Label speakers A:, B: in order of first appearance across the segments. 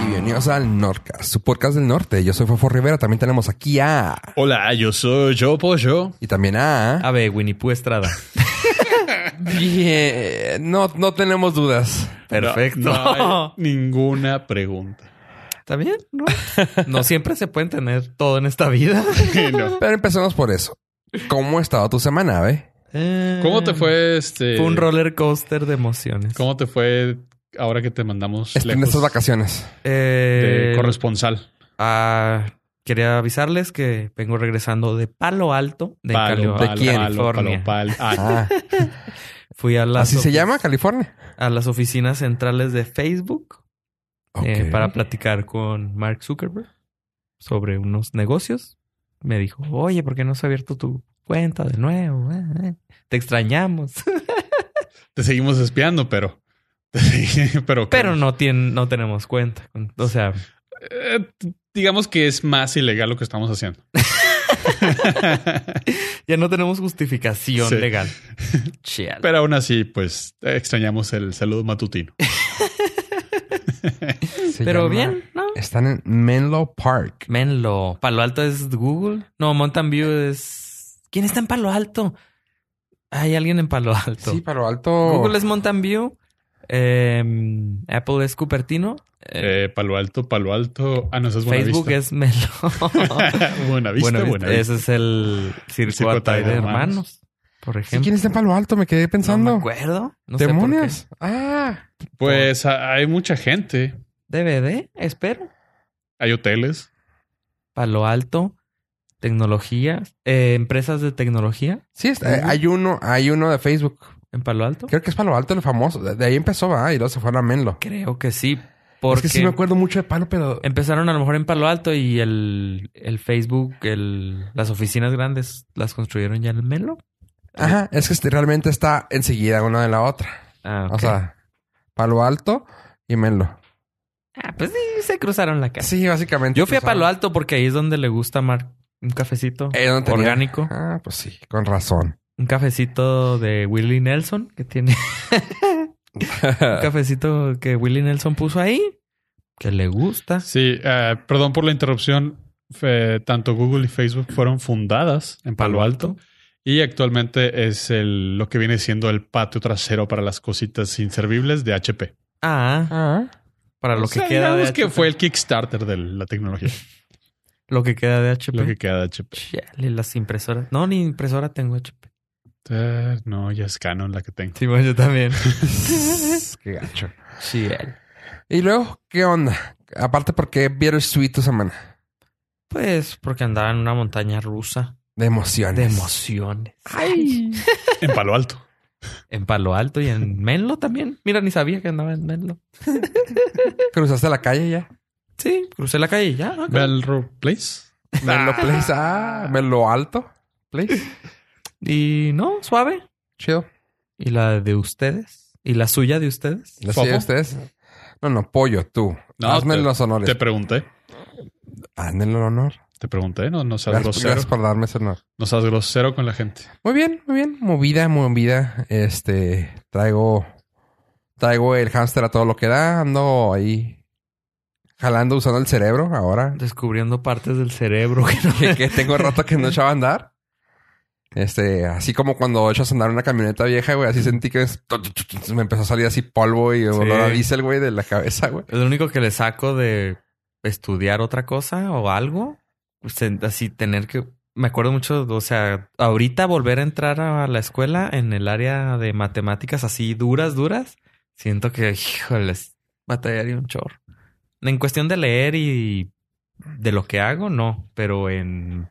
A: Bienvenidos al Norcas, su podcast del norte. Yo soy Fofo Rivera. También tenemos aquí a.
B: Hola, yo soy Yo Pollo.
A: Y también a.
C: A ver, Winnie Pooh Estrada.
A: Bien. No, no tenemos dudas.
C: Perfecto.
B: No, no hay ninguna pregunta.
C: ¿Está bien? No. no siempre se pueden tener todo en esta vida.
B: No.
A: Pero empecemos por eso. ¿Cómo ha estado tu semana, ve?
C: Eh,
B: ¿Cómo te fue este?
C: Fue un roller coaster de emociones.
B: ¿Cómo te fue ahora que te mandamos
A: Est- En
B: lejos
A: estas Este, vacaciones.
B: de
C: Eh,
B: corresponsal?
C: ah, quería avisarles que vengo regresando de Palo Alto, de, Cali- de
A: quién?
C: California.
B: palo, palo. Ah,
A: Ah,
C: Fui a las,
A: así se
C: ofi-
A: llama California.
C: a las oficinas centrales de Facebook eh,
A: Ok.
C: para platicar con Mark Zuckerberg sobre unos negocios. Me dijo, oye, ¿por qué no has abierto tu cuenta de nuevo? Eh, eh, Te extrañamos.
B: te seguimos espiando, pero. pero,
C: Pero no, tiene, no tenemos cuenta. con- O sea,
B: Eh, digamos que es más ilegal lo que estamos haciendo.
C: ya no tenemos justificación
B: Sí.
C: legal. Chial.
B: pero aún así, pues extrañamos el saludo matutino.
C: Eh.
A: Se
C: Pero
A: llama-
C: bien, ¿no?
A: Están en Menlo Park.
C: Menlo. Palo Alto es Google. No, Mountain View es. ¿Quién está en Palo Alto? Hay alguien en Palo Alto.
A: Sí, Palo Alto.
C: Google es Mountain View. em, Apple es Cupertino. eh,
B: Eh, palo alto, palo alto. Ah, no, eso es buena
C: Facebook
B: vista.
C: es Menlo.
B: buena vista,
C: Bueno,
B: buena vista.
C: ese es el circo,
B: circo
C: Atay de
B: Atay de
C: hermanos.
B: hermanos.
C: Por
A: Sí,
C: ejemplo.
A: ¿quién está en Palo Alto? Me quedé
C: No me
A: pensando.
C: acuerdo. No sé por qué.
A: ¿Demonios? Ah.
B: Pues a- hay mucha gente.
C: DVD, espero.
B: Hay hoteles.
C: Palo Alto, tecnología, eh, empresas de tecnología
A: Sí, está- eh, hay uno, hay uno de Facebook.
C: en Palo Alto.
A: Creo que es Palo Alto el famoso. De de ahí empezó, ¿verdad? Y luego se fueron a Menlo.
C: Creo que sí, porque
A: Es que sí me acuerdo mucho de Palo, pero...
C: empezaron a lo mejor en Palo Alto y el, el Facebook, el, las oficinas grandes las construyeron ya en el Melo.
A: Ajá, es que este- realmente está enseguida una de la otra.
C: Ah, ok.
A: O sea, Palo Alto y Menlo.
C: Ah, pues sí, se cruzaron la casa.
A: Sí, básicamente.
C: Yo fui a Palo
A: Alto.
C: Alto porque ahí es donde le gusta a Mark un cafecito
A: Eh, ¿dónde tenía?
C: orgánico,
A: Ah, pues sí, con razón.
C: un cafecito de Willie Nelson que tiene un cafecito que Willie Nelson puso ahí que le gusta.
B: Sí, eh, perdón por la interrupción. Fe- tanto Google y Facebook fueron fundadas en Palo Alto y actualmente es el, lo que viene siendo el patio trasero para las cositas inservibles de HP.
C: Ah,
A: Ah.
C: para lo
B: O sea,
C: que queda
B: digamos
C: de
B: que
C: HP.
B: fue el Kickstarter de la tecnología,
C: lo que queda de HP.
B: lo que queda de HP.
C: Chale, las impresoras. No, ni impresora tengo HP.
B: Eh, no, ya es Canon la que tengo.
C: Sí, bueno, yo también.
A: Qué gacho.
C: Chale.
A: Y luego, ¿qué onda? Aparte, ¿por qué Bittersweet tu semana?
C: Pues porque andaba en una montaña rusa
A: De emociones.
C: de emociones.
B: En Palo Alto.
C: En Palo Alto y en Menlo también. Mira, ni sabía que andaba en Menlo.
A: ¿Cruzaste la calle ya?
C: Sí, crucé la calle y ya. ¿no?
B: Melrose Place.
A: Menlo Place. Ah, Menlo Alto. Place.
C: Y no, suave.
A: Chido.
C: ¿Y la de ustedes? ¿Y la suya de ustedes?
A: ¿La
B: ¿Fofo?
A: siguen ustedes? No, no, pollo, tú.
B: No,
A: Hazme
B: te-
A: los honores.
B: Te pregunté,
A: Hazme el honor.
B: te pregunté, no, no seas
A: Gracias,
B: grosero.
A: gracias por darme ese honor.
B: No seas grosero con la gente.
A: Muy bien, muy bien. Movida, movida. Este, traigo, traigo el hámster a todo lo que da. Ando ahí jalando, usando el cerebro ahora.
C: Descubriendo partes del cerebro que no
A: Que, que tengo rato que no echaba a andar. Este, así como cuando echas a andar una camioneta vieja, güey. Así sentí que es- me empezó a salir así polvo y olor a diésel, güey, de la cabeza, güey.
C: Es lo único que le saco de estudiar otra cosa o algo. Pues, en- Así tener que. Me acuerdo mucho, o sea, ahorita volver a entrar a la escuela en el área de matemáticas así duras, duras. Siento que, híjoles, batallaría un chorro. En cuestión de leer y de lo que hago, no, pero en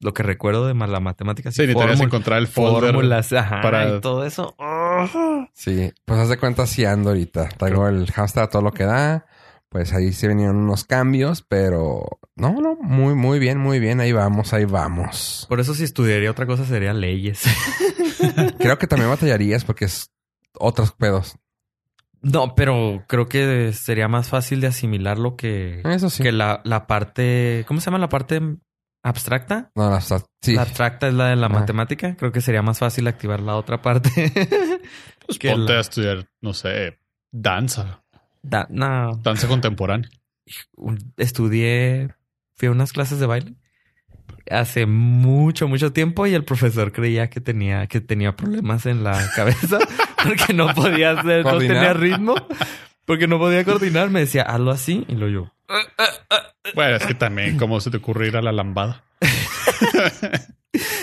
C: lo que recuerdo de ma- la matemática,
B: Sí,
C: sí,
B: ni tenías que
C: fórmul-
B: encontrar el folder.
C: fórmulas, ajá,
B: para-
C: y todo eso. ¡ah!
A: Sí, pues haz de cuenta si ando ahorita. Traigo el hámster a todo lo que da. Pues ahí se venían unos cambios, pero no, no, muy, muy bien, muy bien. Ahí vamos, ahí vamos.
C: Por eso si estudiaría otra cosa sería leyes.
A: Creo que también batallarías porque es otros pedos.
C: No, pero creo que sería más fácil de asimilar lo que,
A: Eso Ah, sí.
C: que la, la parte, ¿cómo se llama la parte abstracta?
A: No, no, o sea, sí. Ah.
C: La abstracta es la de la
A: Ajá.
C: matemática. Creo que sería más fácil activar la otra parte.
B: Pues
C: que
B: ponte
C: la-
B: a estudiar, no sé, danza,
C: Da- no.
B: danza contemporánea.
C: un- estudié, fui a unas clases de baile hace mucho, mucho tiempo y el profesor creía que tenía, que tenía problemas en la cabeza porque no podía hacer, no
A: Coordinar.
C: tenía ritmo, porque no podía coordinar. Me decía, hazlo así y lo yo.
B: Bueno, es que también, ¿cómo se te ocurre ir a la lambada?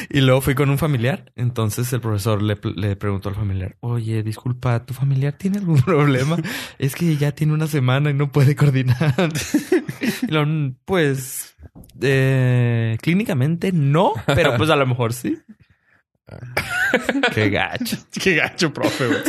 C: Y luego fui con un familiar. Entonces el profesor le, le preguntó al familiar, oye, disculpa, ¿tu familiar tiene algún problema? es que ya tiene una semana y no puede coordinar. Y luego, "Mm, pues, eh, clínicamente no, pero pues a lo mejor sí. Qué gacho.
B: Qué gacho, profe, güey.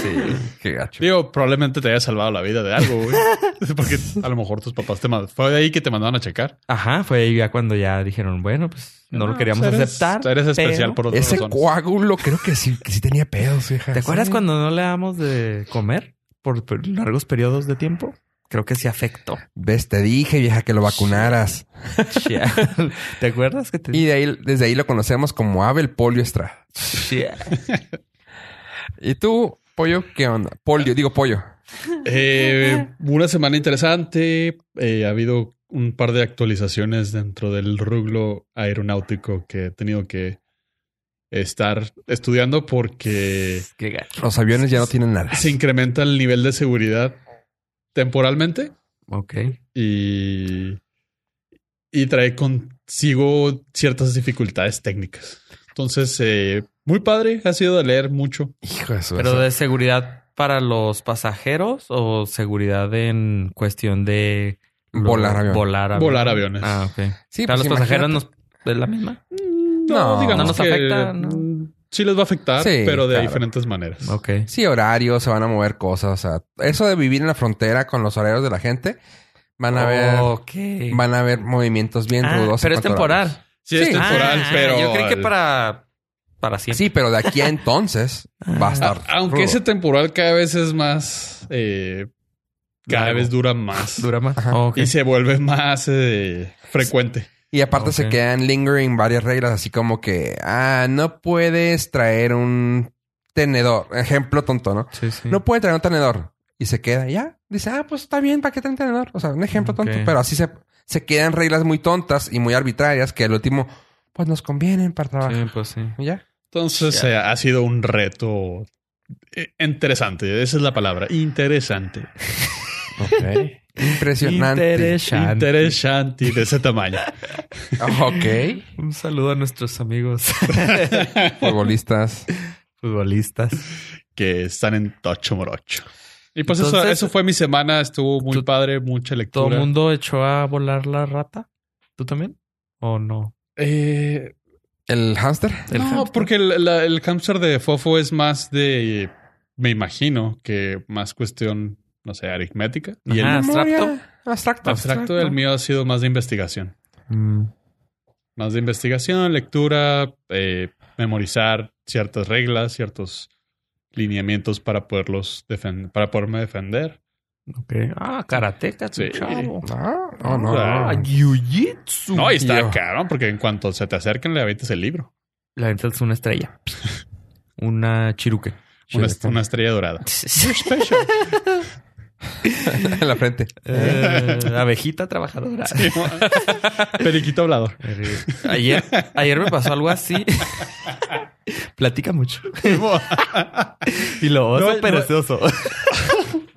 A: Qué gacho.
B: Digo, probablemente te haya salvado la vida de algo, güey. Porque a lo mejor tus papás te mandaron. Fue de ahí que te mandaron a checar.
C: Ajá, fue ahí ya cuando ya dijeron, bueno, pues no, lo
B: Ah,
C: queríamos
B: pues eres-
C: aceptar.
B: Eres especial
C: pero-
B: por otras
A: Ese
B: razones.
A: coágulo creo que sí, que sí tenía pedos, hija.
C: ¿Te acuerdas
A: Sí.
C: cuando no le damos de comer por per- largos periodos de tiempo? Creo que sí afectó.
A: Ves, te dije, vieja, que lo vacunaras.
C: Chial. ¿Te acuerdas que te
A: Y de ahí, desde ahí lo conocemos como Abel Polio Estrada.
C: Chial.
A: ¿Y tú, pollo, qué onda? Polio, digo pollo.
B: Eh, una semana interesante. Eh, ha habido un par de actualizaciones dentro del rublo aeronáutico que he tenido que estar estudiando porque
C: Qué gacho.
A: Los aviones ya no tienen nada.
B: se incrementa el nivel de seguridad temporalmente.
C: Ok.
B: y, y trae consigo ciertas dificultades técnicas. Entonces, eh, muy padre, ha sido de leer mucho.
A: Hijo de su.
C: Pero de seguridad para los pasajeros o seguridad en cuestión de
A: Volar avión.
C: volar, avión?
B: Volar aviones.
C: Ah, ok.
A: Sí,
C: para
A: pues,
C: los pasajeros
A: imagínate.
C: nos es la misma.
A: No, no
C: Mm, nos afecta, ¿no?
B: mm, sí les va a afectar,
A: Sí,
B: pero de
A: claro.
B: diferentes maneras.
C: Ok.
A: Sí, horarios, se van a mover cosas. O sea, eso de vivir en la frontera con los horarios de la gente, van a ver,
C: Ok.
A: van a haber movimientos bien
C: Ah,
A: rudos. en
C: pero es
A: cuanto a horarios.
C: temporal.
B: Sí, es
A: Sí.
B: temporal,
C: Ah,
B: pero
C: Yo creí que para para siempre.
A: Ah, Sí, pero de aquí a entonces va
C: Ah,
A: a estar.
B: aunque
A: rudo.
B: ese temporal cada vez es más, eh, cada
C: Largo.
B: vez dura más
C: Dura más.
A: Ajá.
C: Ok.
B: y se vuelve más eh, frecuente.
A: Y aparte se
C: Ok.
A: quedan lingering varias reglas, así como que, ah, no puedes traer un tenedor. Ejemplo tonto, ¿no?
C: Sí, sí.
A: No puede traer un tenedor. Y se queda, ya. Dice, ah, pues está bien, ¿para qué traer un tenedor? O sea, un ejemplo
C: Ok.
A: tonto. Pero así se, se quedan reglas muy tontas y muy arbitrarias que al último, pues nos convienen para trabajar.
C: Sí, pues sí.
A: Y Ya.
B: Entonces
C: Ya.
B: eh, ha sido un reto eh, interesante, esa es la palabra, interesante.
A: Impresionante.
B: Interesante de ese tamaño.
A: ok.
C: Un saludo a nuestros amigos
A: Futbolistas.
C: futbolistas.
B: que están en Tocho Morocho. Y pues eso,
C: Entonces-
B: eso fue mi semana. Estuvo muy
C: Tú-
B: padre, mucha lectura.
C: ¿Todo el mundo echó a volar la rata? ¿Tú también? ¿O no?
B: Eh,
A: El hámster.
C: El
B: no,
C: hamster.
B: porque el, la- el hamster de Fofo es más de, me imagino, que más cuestión, no sé, aritmética. Y el
C: Ajá.
B: abstracto,
C: Abstracto.
A: Memoria. Abstracto.
C: abstracto.
B: del mío ha sido más de investigación. Más de investigación, lectura, eh, memorizar ciertas reglas, ciertos lineamientos para poderlos defender, para poderme defender.
C: Ok. Ah, karateca, tu
B: Sí.
C: chavo.
A: No, no, Oh, no.
C: Ah,
A: no.
C: jiu-jitsu.
B: No, y está
A: Yo.
B: cabrón, porque en cuanto se te acerquen, le avientas el libro.
C: La venta es una estrella. Una chiruque.
B: Una,
A: Chido.
B: una estrella dorada.
A: en la frente.
C: Eh, abejita trabajadora.
B: Periquito hablador.
C: Ayer, ayer me pasó algo así. Platica mucho. Y lo oso
B: No, no.
C: perezoso.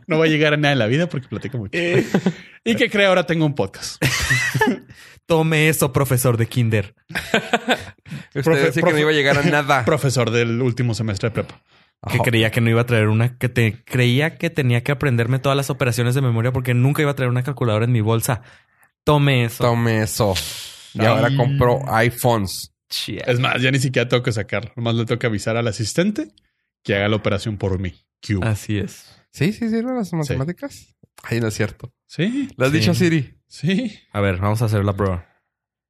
B: No va a llegar a nada en la vida porque platico mucho. y que creo ahora tengo un podcast.
C: Tome eso, profesor de kinder.
A: Usted
B: Profe-
A: decía que
B: profe-
A: no iba a llegar a nada.
B: Profesor del último semestre de prepa.
C: que
A: Ajá.
C: creía que no iba a traer una que te creía que tenía que aprenderme todas las operaciones de memoria porque nunca iba a traer una calculadora en mi bolsa. Tome eso.
A: Tome eso. Y ahora
B: Ay.
A: compró iPhones.
C: Chia.
B: Es más, ya ni siquiera tengo que sacar. Nomás le tengo que avisar al asistente que haga la operación por mí. Q.
C: Así es.
A: Sí, sí, sí, ¿no? las matemáticas. Ahí no es cierto.
B: Sí,
A: ¿Lo has
C: Sí.
A: dicho Siri?
B: sí.
C: A ver, vamos a hacer la prueba.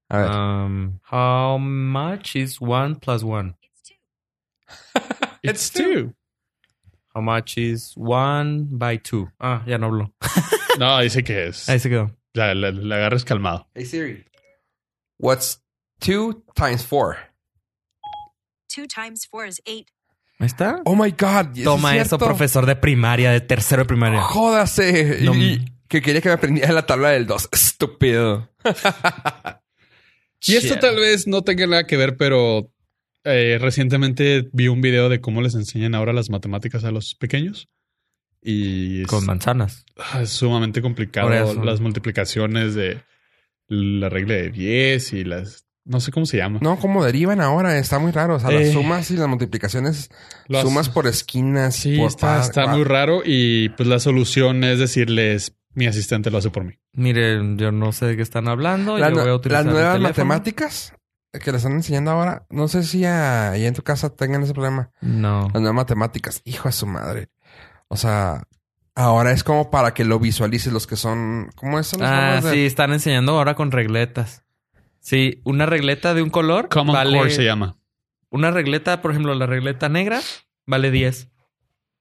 A: A ver.
C: Um, how much is one plus one?
B: It's two.
C: How much is one by two? Ah, ya no habló.
B: No, dice que es.
C: Ahí se quedó.
B: La, la- la agarres calmado.
A: Hey Siri. What's two times four?
D: 2 times 4 is 8.
C: Ahí está.
A: Oh my God. ¿es
C: Toma
A: cierto?
C: eso, profesor de primaria, de tercero de primaria.
A: Jódase.
C: No,
A: y, que quería que me aprendiera la tabla del 2. Estúpido.
B: Y esto
C: Shit.
B: tal vez no tenga nada que ver, pero eh, recientemente vi un video de cómo les enseñan ahora las matemáticas a los pequeños. Y es,
C: Con manzanas.
B: ah, es sumamente complicado
C: Ahora son-
B: las multiplicaciones de la regla de 10 y las... No sé cómo se llama.
A: No, como derivan ahora, está muy raro. O sea,
B: Eh.
A: las sumas y las multiplicaciones,
B: Las-
A: sumas por esquinas.
B: Sí,
A: por
B: está,
A: par-
B: está
A: par-
B: muy raro y pues la solución es decirles, mi asistente lo hace por mí.
C: Miren, yo no sé de qué están hablando.
A: Las
C: yo
A: nu-
C: voy a utilizar
A: las
C: el
A: nuevas
C: teléfono.
A: matemáticas que le están enseñando ahora, no sé si ah, ahí en tu casa tengan ese problema.
C: No.
A: Las nuevas matemáticas, hijo de su madre. O sea, ahora es como para que lo visualices los que son. ¿Cómo son las
C: Ah,
A: formas de-
C: sí, están enseñando ahora con regletas. Sí, una regleta de un color
B: Common
C: vale...
B: Core se llama.
C: Una regleta, por ejemplo, la regleta negra vale 10.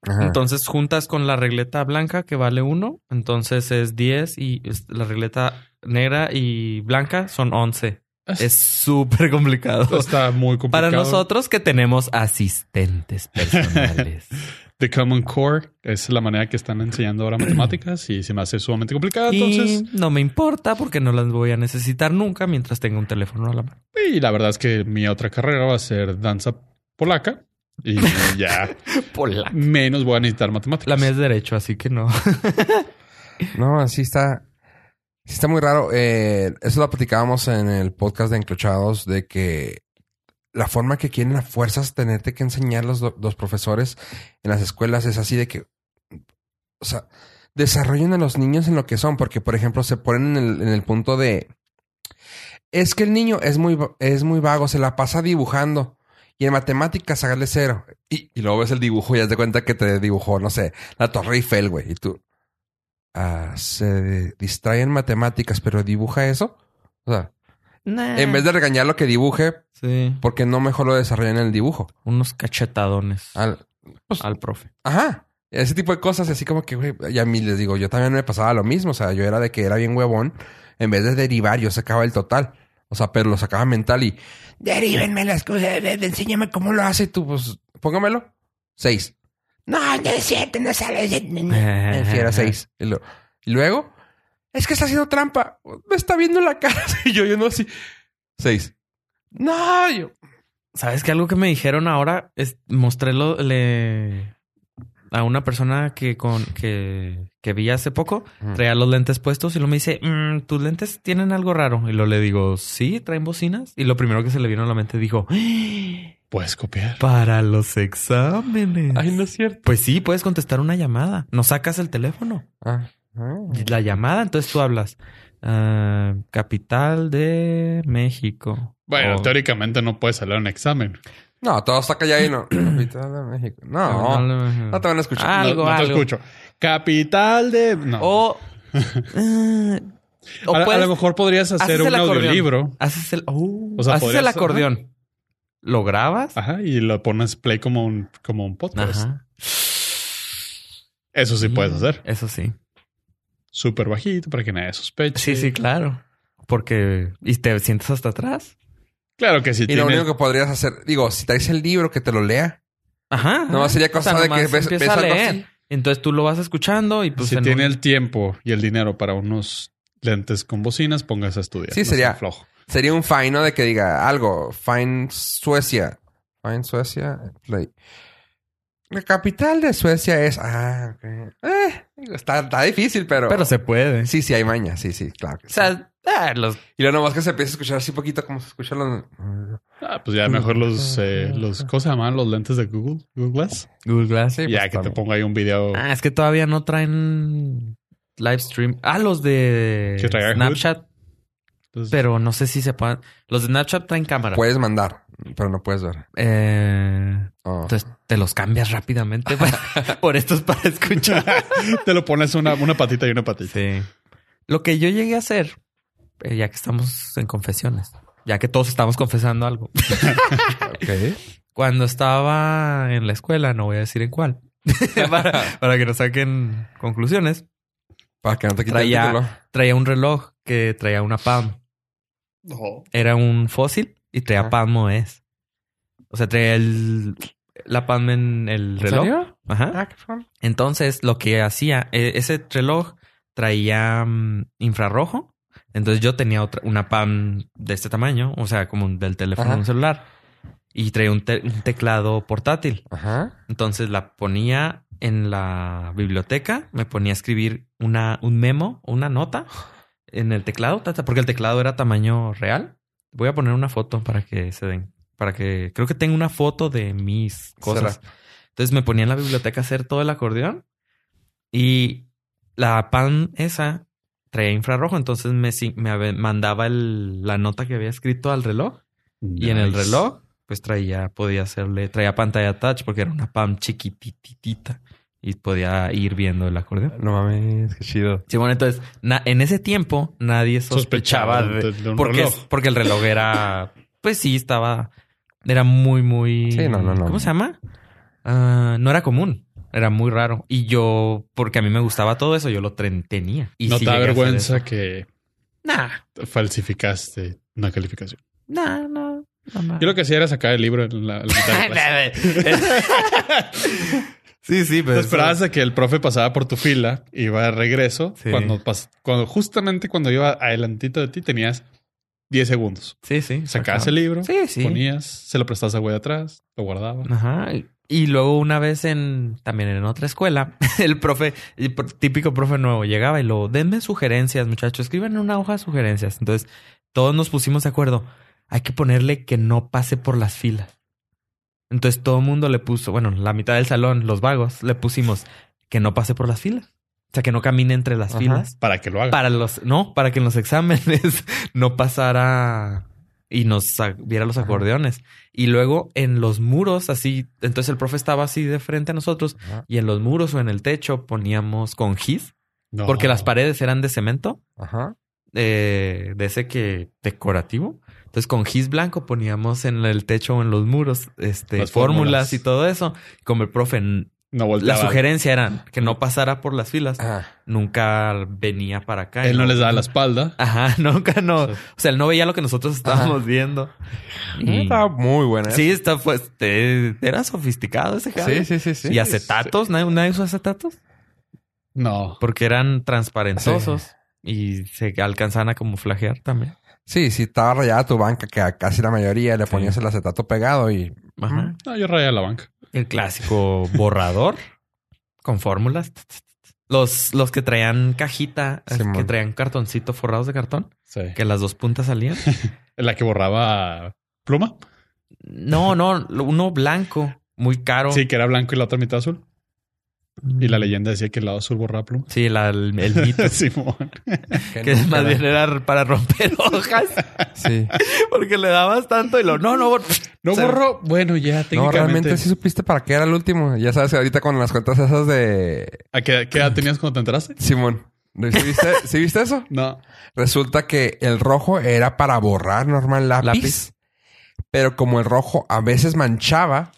A: Ajá.
C: Entonces juntas con la regleta blanca que vale 1, entonces es 10 y es- la regleta negra y blanca son 11. Es súper complicado.
B: Está muy complicado.
C: Para nosotros que tenemos asistentes personales.
B: The Common Core es la manera que están enseñando ahora matemáticas y se me hace sumamente complicada. Ah, Entonces,
C: Y no me importa porque no las voy a necesitar nunca mientras tenga un teléfono a la mano.
B: y la verdad es que mi otra carrera va a ser danza polaca y ya
C: Pola.
B: menos voy a necesitar
C: La
B: matemáticas.
C: mía es derecho, así que no.
A: No, así está. Sí está muy raro. Eh, eso lo platicábamos en el podcast de Enclochados, de que la forma que quieren a fuerzas tenerte que enseñar los, do- los profesores en las escuelas es así de que, o sea, desarrollen a los niños en lo que son, porque por ejemplo se ponen en el, en el punto de, es que el niño es muy, va- es muy vago, se la pasa dibujando. Y en matemáticas, hágale cero. Y, y luego ves el dibujo y ya te cuenta que te dibujó, no sé, la Torre Eiffel, güey. Y tú, ah, se distrae en matemáticas, pero dibuja eso. O sea,
C: Nah.
A: en vez de regañar lo que dibuje,
C: Sí,
A: porque no mejor lo desarrolla en el dibujo.
C: unos cachetadones
A: Al-
C: al profe.
A: ajá. Ese tipo de cosas, así como que, güey, y a mí les digo, yo también me pasaba lo mismo. O sea, yo era de que era bien huevón. En vez de derivar, yo sacaba el total. O sea, pero lo sacaba mental y... Derívenme las cosas, de- de- enséñame cómo lo hace tú. Pues, póngamelo. Seis. No, no es cierto, no sabes. Me refiero a eh, seis. Y, lo- y luego, es que está haciendo trampa. Me está viendo la cara. Y yo, yo no así. Seis. No, yo.
C: ¿Sabes que algo que me dijeron ahora es mostré lo- le a una persona que con que, que vi hace poco
A: Ujú.
C: traía los lentes puestos y lo me dice "Mm, tus lentes tienen algo raro y lo le digo sí traen bocinas y lo primero que se le vino a la mente dijo "Ah,
B: Puedes copiar.
C: para los exámenes
B: es cierto.
C: pues sí puedes contestar una llamada no sacas el teléfono
A: Ah, ah.
C: la llamada entonces tú hablas "Ah, capital de México
B: Bueno,
C: O-
B: teóricamente no puedes salir a un examen.
A: No, todo está callado y no. Capital de México. No,
C: Capital de México.
A: no te van a escuchar.
C: Ah.
B: No-
C: Algo,
B: no, te
C: algo.
B: escucho. Capital de. No.
C: O. eh, o
B: a, a
C: puedes-
B: lo mejor podrías hacer
C: haces
B: un
C: el acordeón.
B: audiolibro.
C: haces el. oh,
B: O sea,
C: haces el
B: podrías- Ah,
C: acordeón. ¿Lo grabas?
B: Ajá, y lo pones play como un, como un podcast.
C: Ajá. Mm.
B: Eso sí puedes hacer.
C: Eso sí.
B: Súper bajito para que nadie sospeche.
C: Sí, sí, claro. Porque. Y te sientes hasta atrás.
B: Claro que sí.
A: Y lo
B: tienes-
A: único que podrías hacer, digo, si traes el libro que te lo lea,
C: Ajá.
A: Nomás sería cosa de que
C: Ah, nomás
A: ves-
C: empieza
A: ves
C: a
A: algo
C: leer.
A: así.
C: Entonces tú lo vas escuchando y pues.
B: si
C: en
B: tiene
C: un-
B: el tiempo y el dinero para unos lentes con bocinas, pongas a estudiar.
A: Sí,
B: No
A: sería-
B: sea flojo.
A: sería un fine, ¿no? De que diga algo. Fine Suecia. Fine Suecia. Play. La capital de Suecia es. Ah, ok. Eh, digo, está, está difícil, pero.
C: Pero se puede.
A: Sí, sí, hay maña. Sí, sí, claro. que
C: O
A: sí.
C: sea, ah, los.
A: Y luego nomás que se empieza a escuchar así poquito como se escuchan los.
B: Ah, pues ya mejor los, eh, los ¿cómo se llaman? Los lentes de Google, Google Glass.
C: Google Glass.
A: Sí,
B: ya
A: pues,
B: que te
A: también.
B: ponga ahí un video.
C: Ah, es que todavía no traen live stream. Ah, los de
B: Que traiga
C: Snapchat.
B: Entonces,
C: Pero no sé si se puedan. Los de Snapchat traen cámara.
A: Puedes mandar, pero no puedes ver.
C: Eh,
A: Oh.
C: entonces te los cambias rápidamente para- por estos para escuchar.
B: te lo pones una, una patita y una patita.
C: Sí. Lo que yo llegué a hacer, eh, ya que estamos en confesiones, ya que todos estamos confesando algo.
A: Ok.
C: Cuando estaba en la escuela, no voy a decir en cuál, para, para que no saquen conclusiones,
A: Para que no te quite
C: Traía-
A: el título.
C: traía un reloj que traía una PAM.
B: No.
C: Era un fósil y traía
A: Ajá.
C: PAM OS. O sea, traía el, la PAM en el reloj. Ajá.
A: Ah, qué fun.
C: Entonces, lo que hacía, eh, e, ese reloj traía mm, infrarrojo. Entonces yo tenía otra, una PAM de este tamaño, o sea, como un- del teléfono
A: Ajá.
C: de un celular. Y traía un, te- un teclado portátil.
A: Ajá.
C: Entonces la ponía en la biblioteca, me ponía a escribir una, un memo, una nota en el teclado, tata, porque el teclado era tamaño real. Voy a poner una foto para que se den, para que creo que tengo una foto de mis cosas. Entonces me ponía en la biblioteca a hacer todo el acordeón y la pan esa traía infrarrojo, entonces me, si- me ave- mandaba el- la nota que había escrito al reloj y en el
B: Nice.
C: reloj, pues traía, podía hacerle, traía pantalla touch porque era una PAM chiquititita y podía ir viendo el acordeón.
A: No mames, qué chido.
C: Sí, bueno, entonces, na- en ese tiempo nadie sospechaba,
B: Sospechaba
C: de,
B: de, de un
C: porque,
B: reloj.
C: porque el reloj era, pues sí, estaba, era muy, muy,
A: Sí, no, no, no.
C: ¿cómo se llama? Ah, no era común. Era muy raro. Y yo, porque a mí me gustaba todo eso, yo lo tren- tenía. Y
B: no
C: sí
B: te da
C: llegué a hacer
B: vergüenza
C: eso.
B: que
C: Nah,
B: falsificaste una calificación.
C: nah, no. no, no.
B: Yo lo que hacía era sacar el libro en la, en la mitad de clase.
C: Ah, sí, sí,
B: Te
C: pero.
B: esperabas a que el profe pasaba por tu fila, iba de regreso.
C: Sí.
B: Cuando, pas- cuando justamente cuando iba adelantito de ti, tenías 10 segundos.
C: Sí, sí.
B: Sacabas el libro,
C: Sí, sí.
B: ponías, se lo prestabas a güey de atrás, lo guardabas.
C: Ajá. Y luego una vez en también en otra escuela, el profe, el pr- típico profe nuevo, llegaba y lo, denme sugerencias, muchachos, escriban en una hoja sugerencias. Entonces, todos nos pusimos de acuerdo. Hay que ponerle que no pase por las filas. Entonces todo el mundo le puso, bueno, la mitad del salón, los vagos, le pusimos que no pase por las filas. O sea, que no camine entre las
A: Ajá.
C: filas.
B: Para que lo haga.
C: para los no para que en los exámenes no pasara y nos sa- viera los
A: Ajá.
C: acordeones y luego en los muros así entonces el profe estaba así de frente a nosotros
A: Ajá.
C: y en los muros o en el techo poníamos con gis
B: No.
C: porque las paredes eran de cemento
A: Ajá.
C: eh, de ese que decorativo entonces con gis blanco poníamos en el techo o en los muros este
B: Las
C: fórmulas
B: fórmulas.
C: y todo eso como el profe n-
B: No
C: la
B: volteaba.
C: sugerencia era que no pasara por las filas
A: Ajá.
C: nunca venía para acá
B: Ah. Él no les daba la
C: las
B: espalda.
C: Ajá, nunca no.
B: Sí.
C: O sea, él no veía lo que nosotros estábamos viendo. Y-
A: Estaba muy buena.
C: Mm. Sí, está pues te- era sofisticado ese jale.
A: sí, sí, sí, sí.
C: Y acetatos, nadie, nadie usó acetatos
B: No.
C: porque eran transparentosos y se alcanzaban a camuflajear también.
A: Sí, sí, estaba rayada tu banca, que a casi la mayoría le ponías el acetato pegado y
C: Ajá.
B: No, yo rayé la banca.
C: Mm. El clásico borrador con fórmulas. Los, los que traían cajita, eh,
A: Simón.
C: que traían cartoncito forrados de cartón,
B: Sí.
C: que las dos puntas salían.
B: La que borraba pluma.
C: No, no, lo- uno blanco, muy caro.
B: Sí, que era blanco y la otra mitad azul. Y la leyenda decía que el lado azul borraba pluma.
C: Sí, la- el, el mito.
B: Simón.
C: Que
A: nunca
C: más
A: era-
C: bien era para romper hojas,
A: Sí.
C: porque le dabas tanto y lo no, no,
B: No
C: Sí.
B: borró. Bueno, ya
A: No,
B: técnicamente.
A: realmente sí supiste para qué era el último. Ya sabes que ahorita con las cuentas esas de
B: ¿A qué, qué edad tenías cuando te enteraste?
A: Simón. ¿Sí viste, sí viste eso?
B: No.
A: Resulta que el rojo era para borrar normal lápiz,
C: Lápiz.
A: Pero como el rojo a veces manchaba,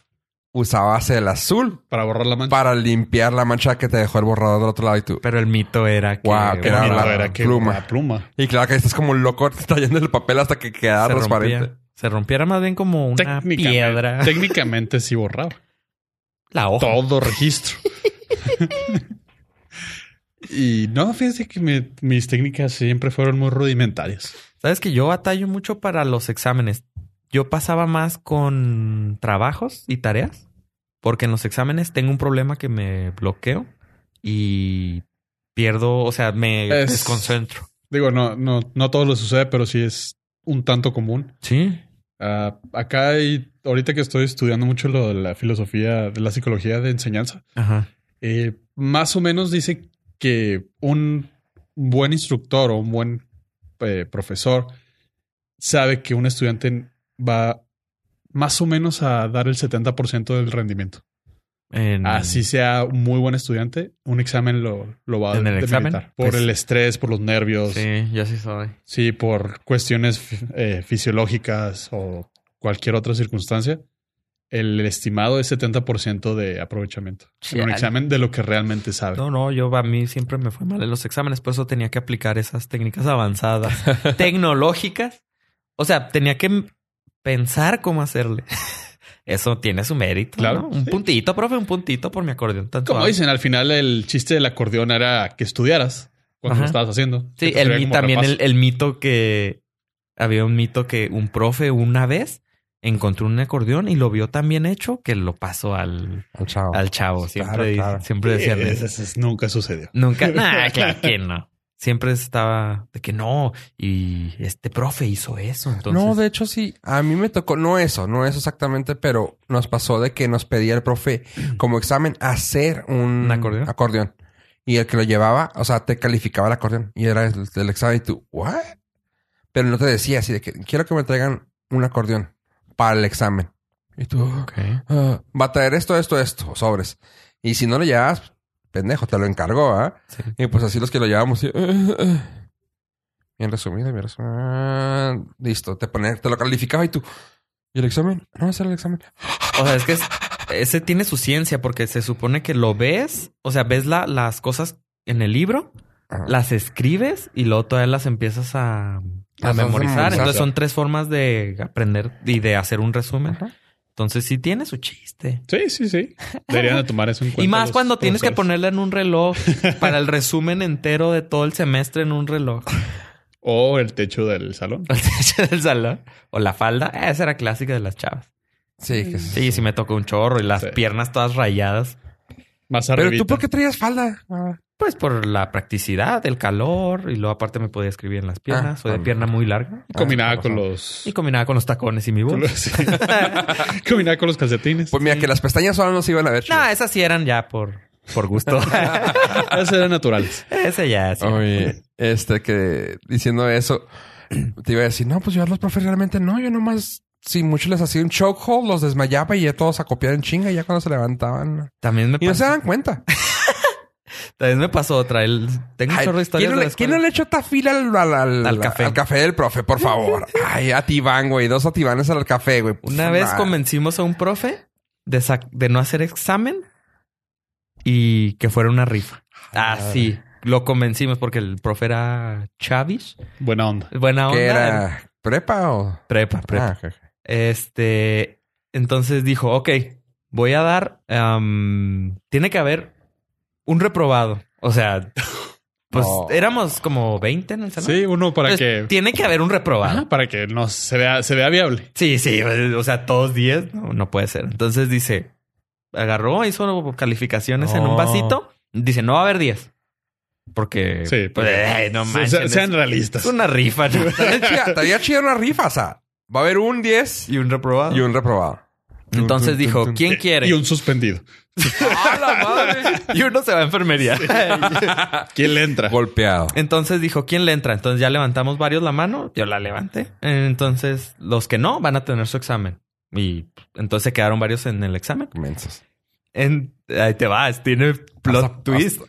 A: usabas el azul
B: Para borrar la mancha.
A: para limpiar la mancha que te dejó el borrador del otro lado y tú.
C: pero el mito era que,
A: Guau, que era
B: No,
A: la pluma.
B: borraba pluma.
A: Y claro que estás como un loco trayendo el papel hasta que queda
C: se,
A: transparente.
C: rompía, se rompiera más bien como una
B: Técnicamente-
C: piedra.
B: Técnicamente sí borraba.
C: La hoja.
B: Todo registro. y no, fíjense que mi- mis técnicas siempre fueron muy rudimentarias.
C: Sabes que yo batallo mucho para los exámenes. Yo pasaba más con trabajos y tareas, porque en los exámenes tengo un problema que me bloqueo y pierdo, o sea, me
B: Es-
C: desconcentro.
B: Digo, no, no, no todo lo sucede, pero sí es un tanto común.
C: Sí.
B: Ah, acá hay, ahorita que estoy estudiando mucho lo de la filosofía, de la psicología de enseñanza,
C: Ajá.
B: eh, más o menos dice que un buen instructor o un buen eh, profesor sabe que un estudiante va más o menos a dar el 70% del rendimiento.
C: En-
B: Así sea un muy buen estudiante, un examen lo, lo va a
C: ¿En el examen?
B: debilitar. Por
C: Pues-
B: el estrés, por los nervios, sí,
C: Sí, yo sí soy.
B: por cuestiones fi- eh, fisiológicas o cualquier otra circunstancia. El estimado es 70% de aprovechamiento en un
C: Chale.
B: examen de lo que realmente sabe.
C: No, no, yo a mí siempre me fue mal en los exámenes, por eso tenía que aplicar esas técnicas avanzadas, tecnológicas. O sea, tenía que m- pensar cómo hacerle. Eso tiene su mérito.
B: Claro,
C: ¿no? Un
B: sí.
C: puntito, profe, un puntito por mi acordeón. Tanto
B: Como
C: hago.
B: dicen, al final el chiste del acordeón era que estudiaras. cuando lo
C: Ajá.
B: estabas haciendo.
C: Sí,
B: Que te
C: el,
B: servía
C: mi-
B: como
C: también
B: rapaz.
C: el, el mito que había un mito que un profe una vez encontró un acordeón y lo vio tan bien hecho que lo pasó al,
A: Al chavo.
C: al chavo. Siempre,
A: Claro,
C: di-
A: claro.
C: siempre decían ¿eh?
B: Sí,
C: eso.
B: eso- eso nunca sucedió.
C: Nunca, nah, claro que no. Siempre estaba de que no, y este profe hizo eso. Entonces,
A: No, de hecho sí. A mí me tocó, no eso, no eso exactamente, pero nos pasó de que nos pedía el profe como examen hacer un,
C: ¿Un acordeón?
A: Y el que lo llevaba, o sea, te calificaba el acordeón. Y era el, el examen y tú, ¿what? Pero no te decía así de que quiero que me traigan un acordeón para el examen. Y tú,
C: Ok.
A: "Ah, va a traer esto, esto, esto, sobres. Y si no lo llevas, pendejo, te lo encargó, ¿ah?
C: Sí.
A: Y pues así los que lo llevamos. sí. Bien resumido, bien resumido. Ah, Listo, te pone, te lo calificaba y tú. ¿Y el examen? No, ese era el examen.
C: O sea, es que es- ese tiene su ciencia porque se supone que lo ves, o sea, ves la- las cosas en el libro,
A: Ajá.
C: las escribes y luego todavía las empiezas a,
A: Las vas a
C: a
A: Ah, memorizar.
C: memorizar. Entonces son tres formas de aprender y de hacer un resumen. Entonces sí tiene su chiste.
B: Sí, sí, sí. Deberían de tomar eso en cuenta.
C: Y más
B: los
C: cuando tienes que
B: profesores.
C: ponerla en un reloj para el resumen entero de todo el semestre en un reloj.
B: O el techo del salón.
C: El techo del salón. O la falda. Eh, Esa era clásica de las chavas.
A: Sí, que
C: Sí, sí me tocó un chorro y las
B: Sí.
C: piernas todas rayadas.
B: Más
A: Pero
B: arriba.
A: tú, ¿por qué traías falda? Ah,
C: Pues por la practicidad, el calor. Y luego aparte me podía escribir en las piernas.
A: Ah,
C: Soy de
A: ah,
C: pierna muy larga.
B: Combinaba
A: por
B: con
A: razón.
B: los.
C: Ah, Y combinaba con los tacones y mi
B: con
C: voz.
B: los- Combinaba con los calcetines.
A: Pues mira, que las pestañas solas no se iban a ver.
C: No, esas sí eran ya por, por gusto.
B: Esas eran naturales.
C: Ese ya sí.
A: Oye, este que diciendo eso, te iba a decir, no, pues yo a los profes realmente no, yo nomás, si mucho les hacía un chokehold, los desmayaba y ya todos a copiar en chinga, y ya cuando se levantaban.
C: También me
A: Y no se
C: pasó.
A: dan cuenta.
C: También me pasó otra. El, tengo un
A: Ay,
C: chorro de
A: ¿quién,
C: historias.
A: no
C: de la
A: le, quién no
C: escuela.
A: le echó tafil al, al, al-
C: Al café.
A: al del profe, por favor? Ay, a Tibán, güey. Dos atibanes al café, güey. Pues,
C: Una vez
A: Nah.
C: convencimos a un profe de, sac- de no hacer examen y que fuera una rifa. Ah,
A: madre.
C: sí. Lo convencimos porque el profe era Chavis.
B: Buena onda.
C: Buena onda.
A: ¿Qué era? ¿Prepa o...?
C: Prepa, prepa.
A: Ah, ok, ok.
C: Este, entonces dijo, ok, voy a dar, am, tiene que haber un reprobado. O sea, pues
A: Oh.
C: éramos como 20 en el salón.
B: Sí, uno para
C: Entonces,
B: que.
C: Tiene que haber un reprobado.
B: Ajá, para que no se vea, se vea viable.
C: Sí, sí, o sea, todos 10, no, no puede ser. Entonces dice, agarró, hizo calificaciones en un
A: Oh.
C: vasito, dice, no va a haber 10. Porque,
B: Sí,
C: pues,
B: porque-
C: ay, no
B: Se-
C: manches,
B: se- sean
C: es-
B: realistas.
C: es una rifa ¿no?
A: Estaría chida- Estaría chida una rifa, o sea. Va a haber un 10
C: y un reprobado.
A: y un reprobado.
C: Entonces dijo, ¿quién quiere?
B: Y un suspendido.
C: ¡Ah, la madre! y uno se va a enfermería.
B: ¿Quién le entra?
A: Golpeado.
C: Entonces dijo, ¿quién le entra? Entonces ya levantamos varios la mano, yo la levanté. Entonces, los que no van a tener su examen. Y entonces se quedaron varios en el examen.
A: Mensos.
C: En- ahí te vas, tiene plot
A: Hasta-
C: twist.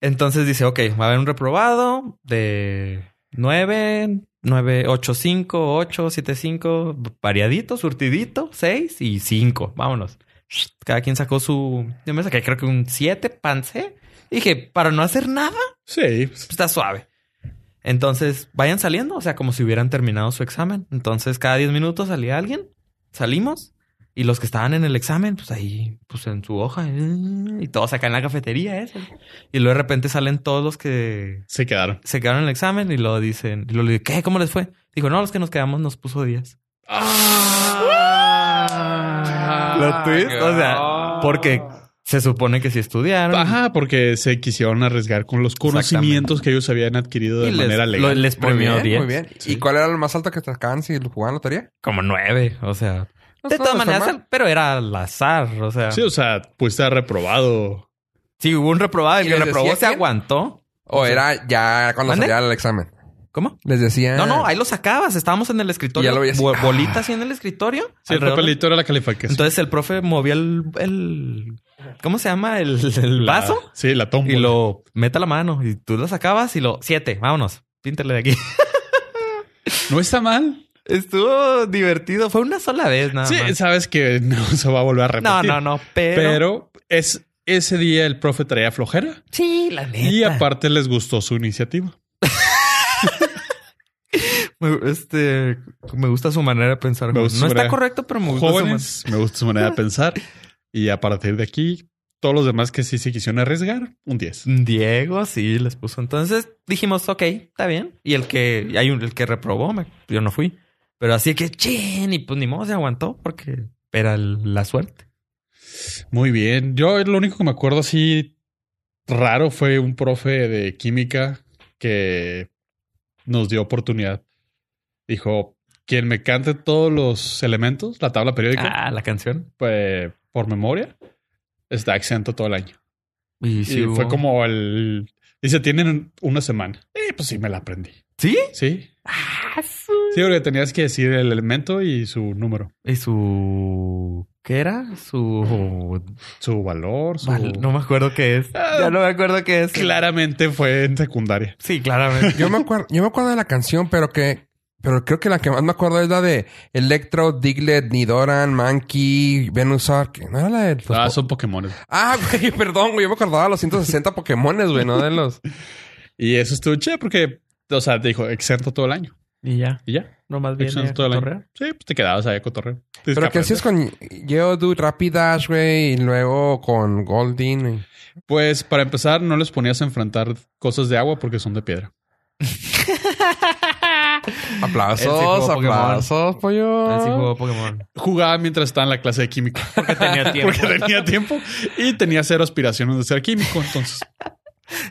C: Entonces dice, ok, va a haber un reprobado de 9, 9, 8, 5, 8, 7, 5, variadito, surtidito, 6 y 5. Vámonos. Cada quien sacó su... Yo me saqué creo que un 7, pancé. Dije, para no hacer nada,
B: Sí. pues,
C: pues, está suave. Entonces, vayan saliendo, o sea, como si hubieran terminado su examen. Entonces, cada 10 minutos salía alguien, salimos, y los que estaban en el examen, pues ahí, pues en su hoja, eh, y todos acá en la cafetería, eso. Y luego de repente salen todos los que
B: Se quedaron.
C: se quedaron en el examen y lo dicen, y luego le digo, ¿qué? ¿Cómo les fue? Dijo, no, los que nos quedamos nos puso 10. Ah.
A: Ah,
C: Plot twist, o sea, porque se supone que si estudiaron.
B: Ajá, porque se quisieron arriesgar con los conocimientos que ellos habían adquirido de
C: Y les,
B: manera
C: lo-
B: legal.
C: les
A: Muy
C: premió
A: bien,
C: 10.
A: muy bien. ¿Y cuál era lo más alto que te sacaban si jugaban lotería?
C: Como nueve, o sea.
A: No,
C: de
A: no,
C: todas
A: no está
C: maneras,
A: mal.
C: pero era al azar, o sea.
B: Sí,
C: Sí,
B: o sea, pues está reprobado.
C: hubo un reprobado, el
A: ¿Y
C: que
A: les
C: reprobó
A: decía
C: se
A: quién?
C: aguantó.
A: ¿O era ya cuando
C: ¿Mande?
A: salía el examen?
C: ¿Cómo?
A: Les decía...
C: No, no, ahí lo sacabas. Estábamos en el escritorio.
A: Y ya lo veías.
C: bo- bolita así en el escritorio.
B: Sí, el
C: alrededor.
B: papelito era la calificación.
C: Entonces el profe movía el, el- ¿cómo se llama? El, el
B: La-
C: vaso
B: Sí, la tómbola.
C: y lo meta la mano y tú lo sacabas y lo siete, vámonos, píntale de aquí.
B: No está mal.
C: Estuvo divertido. Fue una sola vez, nada
B: sí,
C: más.
B: sabes que no se va a volver a
C: Ah, No,
B: repetir.
C: no, no, pero,
B: Pero es ese día el profe traía flojera
C: sí, la neta.
B: y aparte les gustó su iniciativa.
C: Me- Este, me gusta su manera de pensar.
B: Me gusta su
C: no está
B: manera.
C: correcto, pero me gusta su
B: Jóvenes, me gusta su manera de pensar. Y a partir de aquí Todos los demás que sí se quisieron arriesgar, un 10.
C: Diego sí les puso. Entonces dijimos, ok, está bien. Y el que hay un, el que reprobó, me- yo no fui. Pero así que, chin, y pues ni modo se aguantó porque era el- la suerte.
B: Muy bien. Yo eh, lo único que me acuerdo así raro fue un profe de química que nos dio oportunidad. Dijo, quien me cante todos los elementos, la tabla periódica,
C: Ah, la canción.
B: pues, por memoria, está exento todo el año.
C: Y,
B: Y fue como el... Dice, tienen una semana. Eh, pues sí, me la aprendí.
C: ¿Sí?
B: Sí.
C: Ah, su-
B: Sí, porque tenías que decir el elemento y su número,
C: Y su... ¿Qué era? Su...
B: su valor, su...
C: Val- No me acuerdo qué es.
B: Ah.
C: Ya no me acuerdo qué es.
B: Claramente fue en secundaria.
C: Sí, claramente.
A: Yo me acuerdo, yo me acuerdo de la canción, pero que, pero creo que la que más me acuerdo es la de Electro, Diglett, Nidoran, Mankey, Venusaur. que ¿No era la de los
B: Ah,
A: Pues po-
B: son Pokémon.
A: Ah, güey, perdón, güey. Yo me acordaba de los 160 Pokémones, güey, no de los.
B: Y eso estuvo chévere porque, o sea, te dijo exento todo el año.
C: y ya.
B: Y ya,
C: Nomás viene
B: exento
C: a
B: todo el año.
C: cotorrear.
B: Sí, pues te quedabas ahí a cotorreo. Tienes
A: Pero que así es
B: aprender.
A: con Geodude, Rapidash, güey, y luego con Goldin. güey.
B: Pues para empezar, no les ponías a enfrentar cosas de agua porque son de piedra.
C: Él sí jugó
A: Aplausos,
C: Pokémon.
A: aplausos, pollo.
C: Así jugó Pokémon.
B: Jugaba mientras estaba en la clase de química
C: Porque tenía tiempo.
B: porque tenía tiempo y tenía cero aspiraciones de ser químico. Entonces,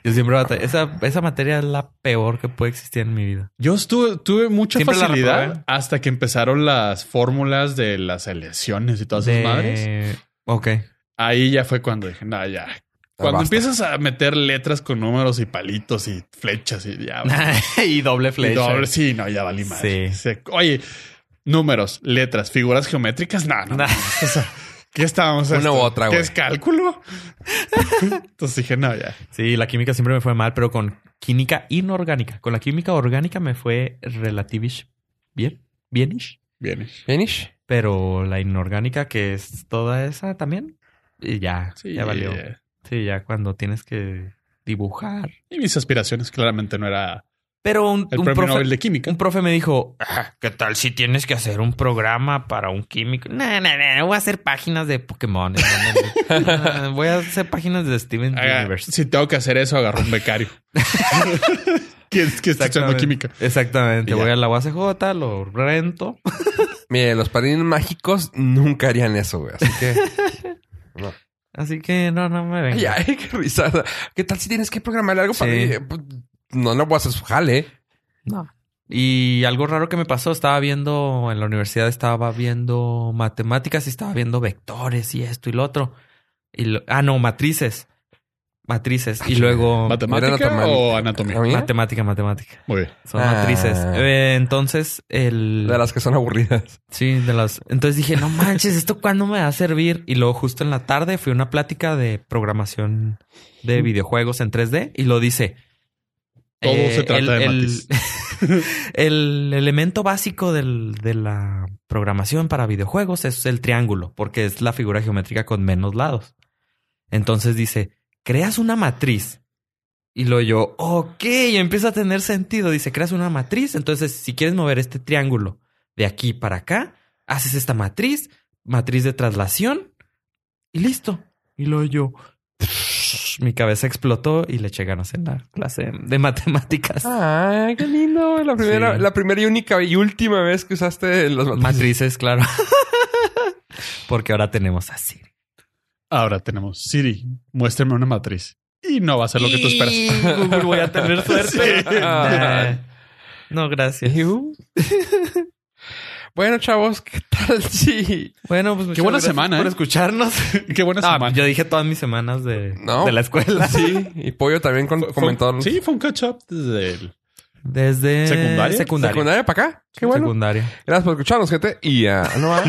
C: Yo siempre batallé. Esa, esa materia es la peor que puede existir en mi vida.
B: yo estuve, tuve mucha
C: Siempre la
B: facilidad
C: reprobé.
B: hasta que empezaron las fórmulas de las elecciones y todas esas
C: De-
B: madres.
C: Ok.
B: Ahí ya fue cuando dije, nada, ya. Cuando
A: Ah, basta.
B: empiezas a meter letras con números y palitos y flechas y ya.
C: y doble
B: Y
C: flecha.
B: doble- sí, no, ya valí madre.
C: Sí.
B: Se- Oye, números, letras, figuras geométricas, nada, no.
C: Nah.
B: mames. O sea, ¿qué estábamos
A: Una
B: esto?
A: u otra,
B: ¿Qué
A: güey.
B: es cálculo? Entonces dije, no, ya.
C: Sí, la química siempre me fue mal, pero con química inorgánica. Con la química orgánica me fue relativish bien. Bienish.
B: Viene.
A: Finish.
C: Pero la inorgánica, que es toda esa también. Y ya.
B: Sí,
C: ya valió.
B: eh,
C: Sí, ya cuando tienes que dibujar.
B: Y mis aspiraciones claramente no era
C: Pero un,
B: el
C: un
B: premio
C: profe,
B: Nobel de Química.
C: un profe me dijo, "Ah, ¿qué tal si tienes que hacer un programa para un químico? No, no, no, no, voy a hacer páginas de Pokémon. No, no, no, voy a hacer páginas de Steven
B: Haga-
C: Universe.
B: si tengo que hacer eso, agarro un becario. que es que está echando
C: Exactamente.
B: química.
C: Exactamente.
B: Y ya.
C: Voy a la UACJ, lo rento.
A: Mire, los padrinos mágicos nunca harían eso, güey. Así que.
C: Así que no, no me vengas.
A: Ay, ay, qué risada. ¿Qué tal si tienes que programar algo para
C: Sí.
A: mí? Pues, No, no voy a hacer su jale. eh?
C: No. Y algo raro que me pasó, estaba viendo en la universidad, estaba viendo matemáticas y estaba viendo vectores y esto y lo otro. Y lo- ah, no, matrices. Matrices. Y luego
B: ¿Matemática
A: anatomía.
B: o anatomía?
A: ¿Anatomía?
C: matemática, matemática.
B: Muy bien.
C: Son
A: Ah.
C: matrices. Eh, entonces, el.
A: De las que son aburridas.
C: Sí, de las. Entonces dije, no manches, ¿esto cuándo me va a servir? Y luego, justo en la tarde, fui a una plática de programación de videojuegos en 3D y lo dice. eh,
B: Todo se trata de
C: el elemento básico del- de la programación para videojuegos es el triángulo, porque es la figura geométrica con menos lados. Entonces dice, creas una matriz. Y lo yo, ok, empieza a tener sentido. Dice, creas una matriz. Entonces, si quieres mover este triángulo de aquí para acá, haces esta matriz, matriz de traslación y listo. Y lo yo, mi cabeza explotó y le eché ganas en la clase de matemáticas.
A: Ah, Ay, qué lindo. La primera,
C: Sí.
A: la primera y única y última vez que usaste los matrices.
C: Matrices, claro. Porque ahora tenemos así.
B: Ahora tenemos Siri, muéstrame una matriz. Y no va a ser lo que tú esperas.
C: Google, voy a tener suerte.
A: Sí.
B: Ah.
C: Nah. No, gracias.
A: Iu. bueno, chavos, ¿qué tal si
C: Bueno, pues muchas
B: buena
C: gracias
B: semana,
C: por
B: ¿eh?
C: escucharnos.
B: Qué buena
C: Ah,
B: semana.
C: yo dije todas mis semanas de,
A: No.
C: de la escuela.
A: Sí, y Pollo también con,
B: Fue- fue-
A: comentó.
B: Sí, fue un catch up desde el
C: Desde
B: ¿Secundaria?
C: secundaria.
A: ¿Secundaria para acá? Qué bueno.
C: Secundaria.
A: Gracias por escucharnos, gente. Y ah, no ah.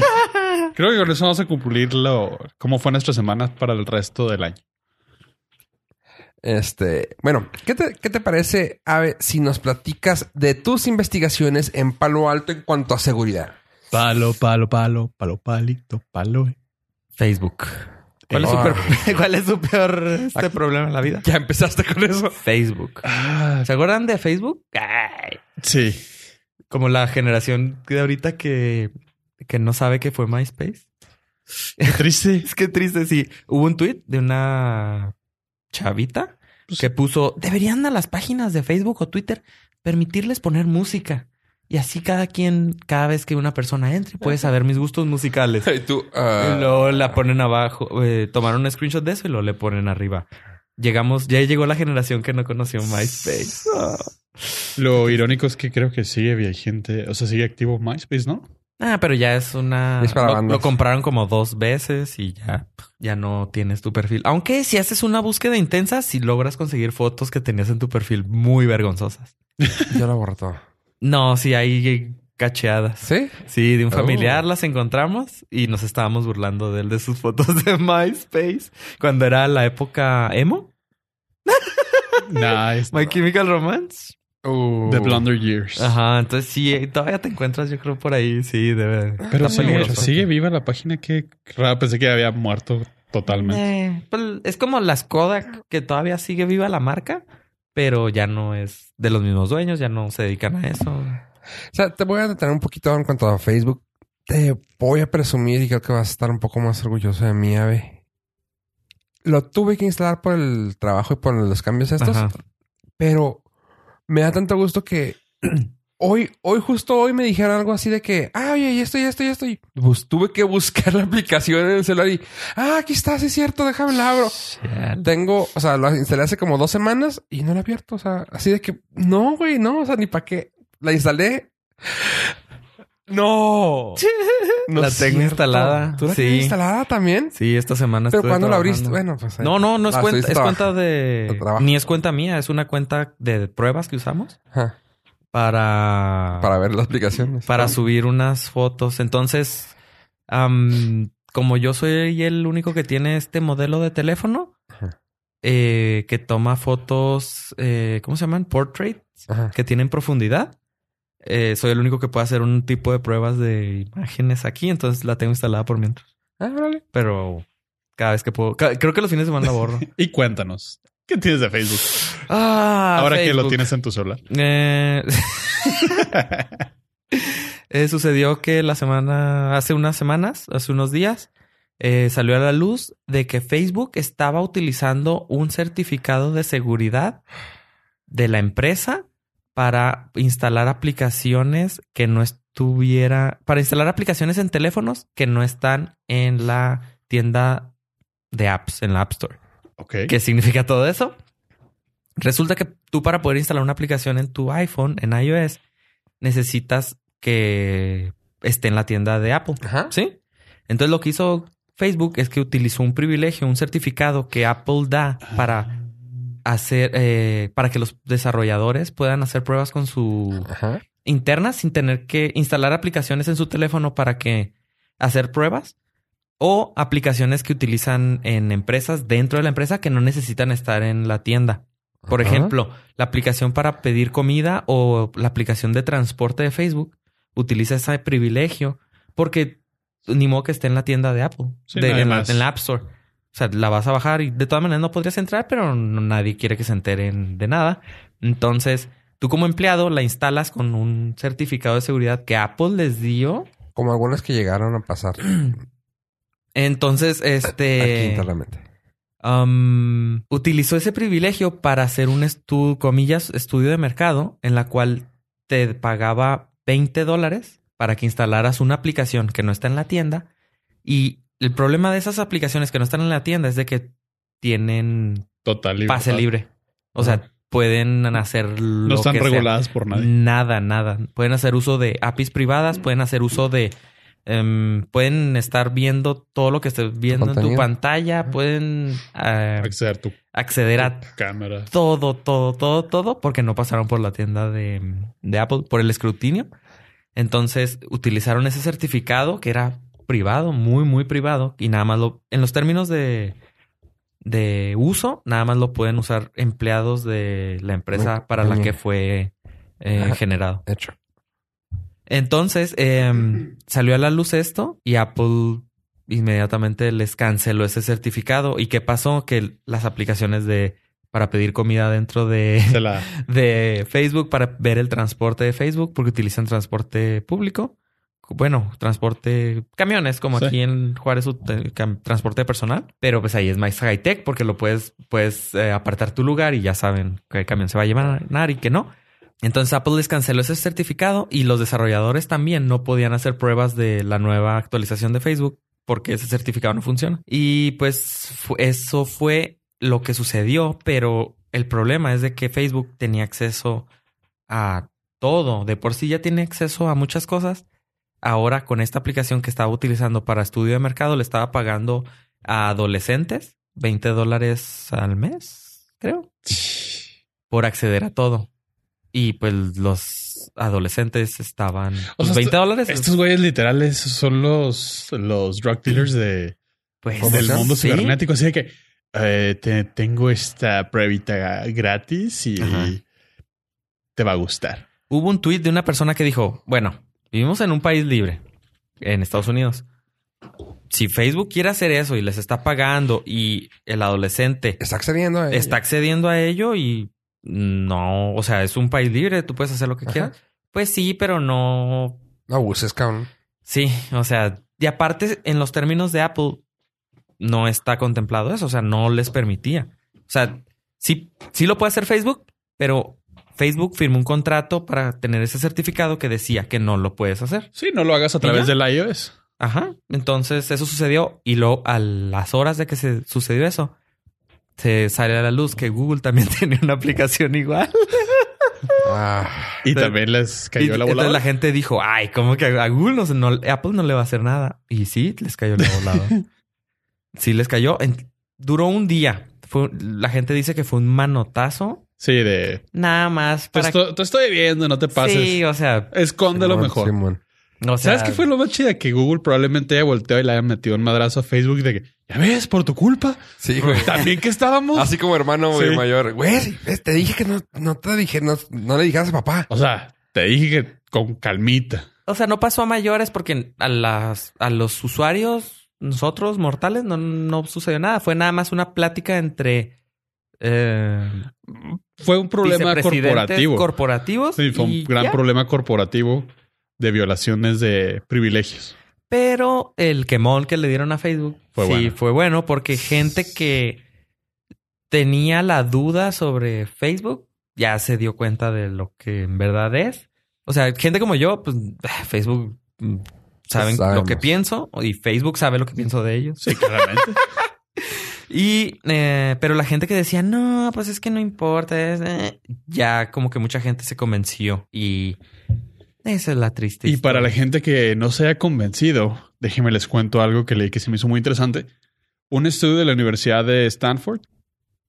B: Creo que con eso vamos a cumplir lo, cómo fue nuestra semana para el resto del año.
A: Este, bueno, ¿qué te, qué te parece, Ave, si nos platicas de tus investigaciones en Palo Alto en cuanto a seguridad?
B: Palo, palo, palo, palo, palito, palo.
C: Facebook. Eh, oh. ¿Cuál, es su
A: Ah.
C: peor, cuál es su peor este problema en la vida?
A: Ya empezaste con eso.
C: Facebook.
B: Ah,
C: ¿Se acuerdan de Facebook? Ay,
B: sí.
C: como la generación de ahorita que, que no sabe que fue MySpace.
B: Qué triste.
C: Es que triste, sí. Hubo un tweet de una chavita que puso, deberían a las páginas de Facebook o Twitter permitirles poner música. Y así cada quien, cada vez que una persona entre, puede saber mis gustos musicales.
A: Y tú, ah,
C: Y luego la ponen abajo, eh, tomaron un screenshot de eso y lo le ponen arriba. Llegamos, ya llegó la generación que no conoció MySpace. Ah.
B: Lo irónico es que creo que sigue había gente, o sea, sigue activo MySpace, ¿no?
C: Ah, pero ya es una.
A: Es para
C: lo,
A: bandas.
C: lo compraron como dos veces y ya, ya no tienes tu perfil. Aunque si haces una búsqueda intensa, si logras conseguir fotos que tenías en tu perfil muy vergonzosas.
A: yo lo borré todo.
C: No, sí, hay cacheadas.
A: ¿Sí?
C: Sí, de un familiar
A: Oh.
C: las encontramos y nos estábamos burlando de él de sus fotos de MySpace cuando era la época emo,
B: Nice.
C: My Chemical Romance.
A: Uh,
B: The Blunder Years.
C: Ajá, entonces sí, eh, todavía te encuentras, yo creo, por ahí, sí, debe.
B: Pero
C: está
B: sigue,
C: peligroso.
B: sigue viva la página que raro, pensé que había muerto totalmente.
C: Eh, pues, es como las Kodak, que todavía sigue viva la marca, pero ya no es de los mismos dueños, ya no se dedican a eso.
A: O sea, te voy a detener un poquito en cuanto a Facebook. Te voy a presumir y creo que vas a estar un poco más orgulloso de mí, Ave. Lo tuve que instalar por el trabajo y por los cambios estos,
C: Ajá.
A: pero me da tanto gusto que hoy, hoy, justo hoy me dijeron algo así de que, ah, oye, y esto, y esto, y esto. Y bus- tuve que buscar la aplicación en el celular y, ah, aquí está, sí es cierto, déjame la abro. Tengo, o sea, la instalé hace como dos semanas y no la he abierto. O sea, así de que no, güey, no, o sea, ni para qué. La instalé. No. No
C: la
A: es
C: tengo
A: cierto.
C: instalada.
A: ¿Tú la tienes
C: sí.
A: instalada también?
C: Sí, esta semana
A: Pero
C: estuve
A: cuando la abriste,
C: trabajando.
A: bueno, pues. ahí.
C: No, no, no es
A: La
C: cuenta,
A: estuviste
C: es cuenta
A: trabajando.
C: de.
A: de trabajo.
C: Ni es cuenta mía, es una cuenta de pruebas que usamos
A: Ajá.
C: para.
A: Para ver las aplicaciones.
C: para subir unas fotos. Entonces, am, como yo soy el único que tiene este modelo de teléfono,
A: Ajá.
C: eh, que toma fotos, eh, ¿cómo se llaman? Portrait,
A: Ajá.
C: que tienen profundidad. eh, soy el único que puede hacer un tipo de pruebas de imágenes aquí, entonces la tengo instalada por mientras.
A: Ah, órale.
C: Pero cada vez que puedo, ca- creo que los fines de semana la borro.
B: Y cuéntanos, ¿qué tienes de Facebook?
C: Ah,
B: Ahora que lo
C: Facebook.
B: tienes en tu celular.
C: Eh, eh, sucedió que la semana, hace unas semanas, hace unos días, eh, salió a la luz de que Facebook estaba utilizando un certificado de seguridad de la empresa para instalar aplicaciones que no estuviera, para instalar aplicaciones en teléfonos que no están en la tienda de apps, en la App Store.
B: ok.
C: ¿Qué significa todo eso? Resulta que tú para poder instalar una aplicación en tu iPhone, en iOS, necesitas que esté en la tienda de Apple.
A: Ajá.
C: ¿Sí? Entonces lo que hizo Facebook es que utilizó un privilegio, un certificado que Apple da para hacer, eh, para que los desarrolladores puedan hacer pruebas con su
A: Ajá.
C: internas sin tener que instalar aplicaciones en su teléfono para que hacer pruebas o aplicaciones que utilizan en empresas dentro de la empresa que no necesitan estar en la tienda. Por
A: Ajá.
C: ejemplo, la aplicación para pedir comida o la aplicación de transporte de Facebook utiliza ese privilegio porque ni modo que esté en la tienda de Apple,
B: Sí,
C: de-
B: nadie
C: en, la,
B: más.
C: en la App Store. O sea, la vas a bajar y de todas maneras no podrías entrar, pero no- nadie quiere que se enteren de nada. Entonces, tú como empleado la instalas con un certificado de seguridad que Apple les dio.
A: Como algunas que llegaron a pasar
C: Entonces,
A: aquí
C: este...
A: internamente.
C: Am, utilizó ese privilegio para hacer un estudio, comillas, estudio de mercado en la cual te pagaba 20 dólares para que instalaras una aplicación que no está en la tienda. Y el problema de esas aplicaciones que no están en la tienda es de que tienen
B: Total. libertad.
C: pase libre. O sea, pueden hacer lo
B: No están
C: que sea. Mm.
B: reguladas por nadie.
C: Nada, nada. Pueden hacer uso de APIs privadas, pueden hacer uso de. em, pueden estar viendo todo lo que estés viendo en tu
A: Contenido.
C: pantalla, pueden eh,
B: Acceder tu,
C: acceder a
B: tu cámara.
C: todo, todo, todo, todo, porque no pasaron por la tienda de, de Apple, por el escrutinio. Entonces utilizaron ese certificado que era privado, muy, muy privado, y nada más lo, en los términos de, de uso, nada más lo pueden usar empleados de la empresa
A: Muy
C: para la que
A: pequeña.
C: fue eh,
A: Ajá.
C: generado.
A: De hecho.
C: Entonces em, salió a la luz esto y Apple inmediatamente les canceló ese certificado. ¿Y qué pasó? Que las aplicaciones de para pedir comida dentro de,
B: Se la
C: de Facebook, para ver el transporte de Facebook, porque utilizan transporte público, bueno, transporte, camiones, como
B: Sí.
C: aquí en Juárez, ut- eh, cam- transporte personal. Pero pues ahí es más high tech porque lo puedes, puedes eh, apartar tu lugar y ya saben qué camión se va a llevar y que no. Entonces Apple les canceló ese certificado y los desarrolladores también no podían hacer pruebas de la nueva actualización de Facebook porque ese certificado no funciona. Y pues fu- eso fue lo que sucedió, pero el problema es de que Facebook tenía acceso a todo, de por sí ya tiene acceso a muchas cosas. Ahora con esta aplicación que estaba utilizando para estudio de mercado le estaba pagando a adolescentes 20 dólares al mes, creo por acceder a todo. Y pues los adolescentes estaban. pues,
B: sea,
C: 20
B: esto-
C: dólares.
B: Estos güeyes literales son los, los drug dealers de,
C: pues,
B: del mundo
C: sí.
B: cibernético. Así de que eh, te- tengo esta pruebita gratis y
C: Ajá.
B: te va a gustar.
C: Hubo un tuit de una persona que dijo: Bueno, vivimos en un país libre, en Estados Unidos. Si Facebook quiere hacer eso y les está pagando y el adolescente
A: Está accediendo. a ella.
C: está accediendo a ello y no, o sea, es un país libre, tú puedes hacer lo que
A: Ajá.
C: quieras. Pues sí, pero no
A: No abuses, cabrón.
C: Sí, o sea, y aparte en los términos de Apple no está contemplado eso, o sea, no les permitía. O sea, sí, sí lo puede hacer Facebook, pero Facebook firmó un contrato para tener ese certificado que decía que no lo puedes hacer.
B: Sí, no lo hagas a través
C: ya?
B: del iOS.
C: Ajá. Entonces eso sucedió y luego a las horas de que se sucedió eso, se sale a la luz que Google también tenía una aplicación igual.
A: Ah,
B: Y
C: Sí.
B: también les cayó
C: Y
B: la
C: entonces
B: volada.
C: la gente dijo, ay, como que a Google no, se- no- Apple no le va a hacer nada. Y sí, les cayó la volada. sí, les cayó. En- duró un día. Fue- la gente dice que fue un manotazo.
B: Sí, de
C: Nada más
B: te,
C: para
B: esto- te estoy viendo, no te pases.
C: Sí, o sea,
B: Escóndelo
A: Simón,
B: mejor.
A: Simón.
C: o sea,
B: ¿Sabes qué fue lo más chida? Que Google probablemente haya volteado y le haya metido un madrazo a Facebook de que, ya ves, por tu culpa.
A: Sí, güey.
B: También que estábamos.
A: Así como hermano güey,
B: Sí.
A: mayor. Güey, ves, te dije que no, no te dije, no, no le dijeras a papá.
B: O sea, te dije que con calmita.
C: O sea, no pasó a mayores porque a las a los usuarios, nosotros mortales, no, no sucedió nada. Fue nada más una plática entre eh,
B: Fue un problema
C: vicepresidentes
B: corporativo.
C: corporativos.
B: sí, fue un
C: y
B: gran
C: ya.
B: problema corporativo de violaciones de privilegios.
C: Pero el quemón que le dieron a Facebook
B: Fue
C: sí
B: bueno.
C: fue bueno porque gente que tenía la duda sobre Facebook ya se dio cuenta de lo que en verdad es. O sea, gente como yo, pues Facebook mm, saben lo
A: sabemos.
C: que pienso y Facebook sabe lo que pienso de ellos.
B: Sí, claramente.
C: Y, eh, pero la gente que decía, no, pues es que no importa, es, eh", ya como que mucha gente se convenció y esa es la triste.
B: y para la
C: historia.
B: gente que no se haya convencido, déjenme les cuento algo que leí que se me hizo muy interesante. Un estudio de la Universidad de Stanford,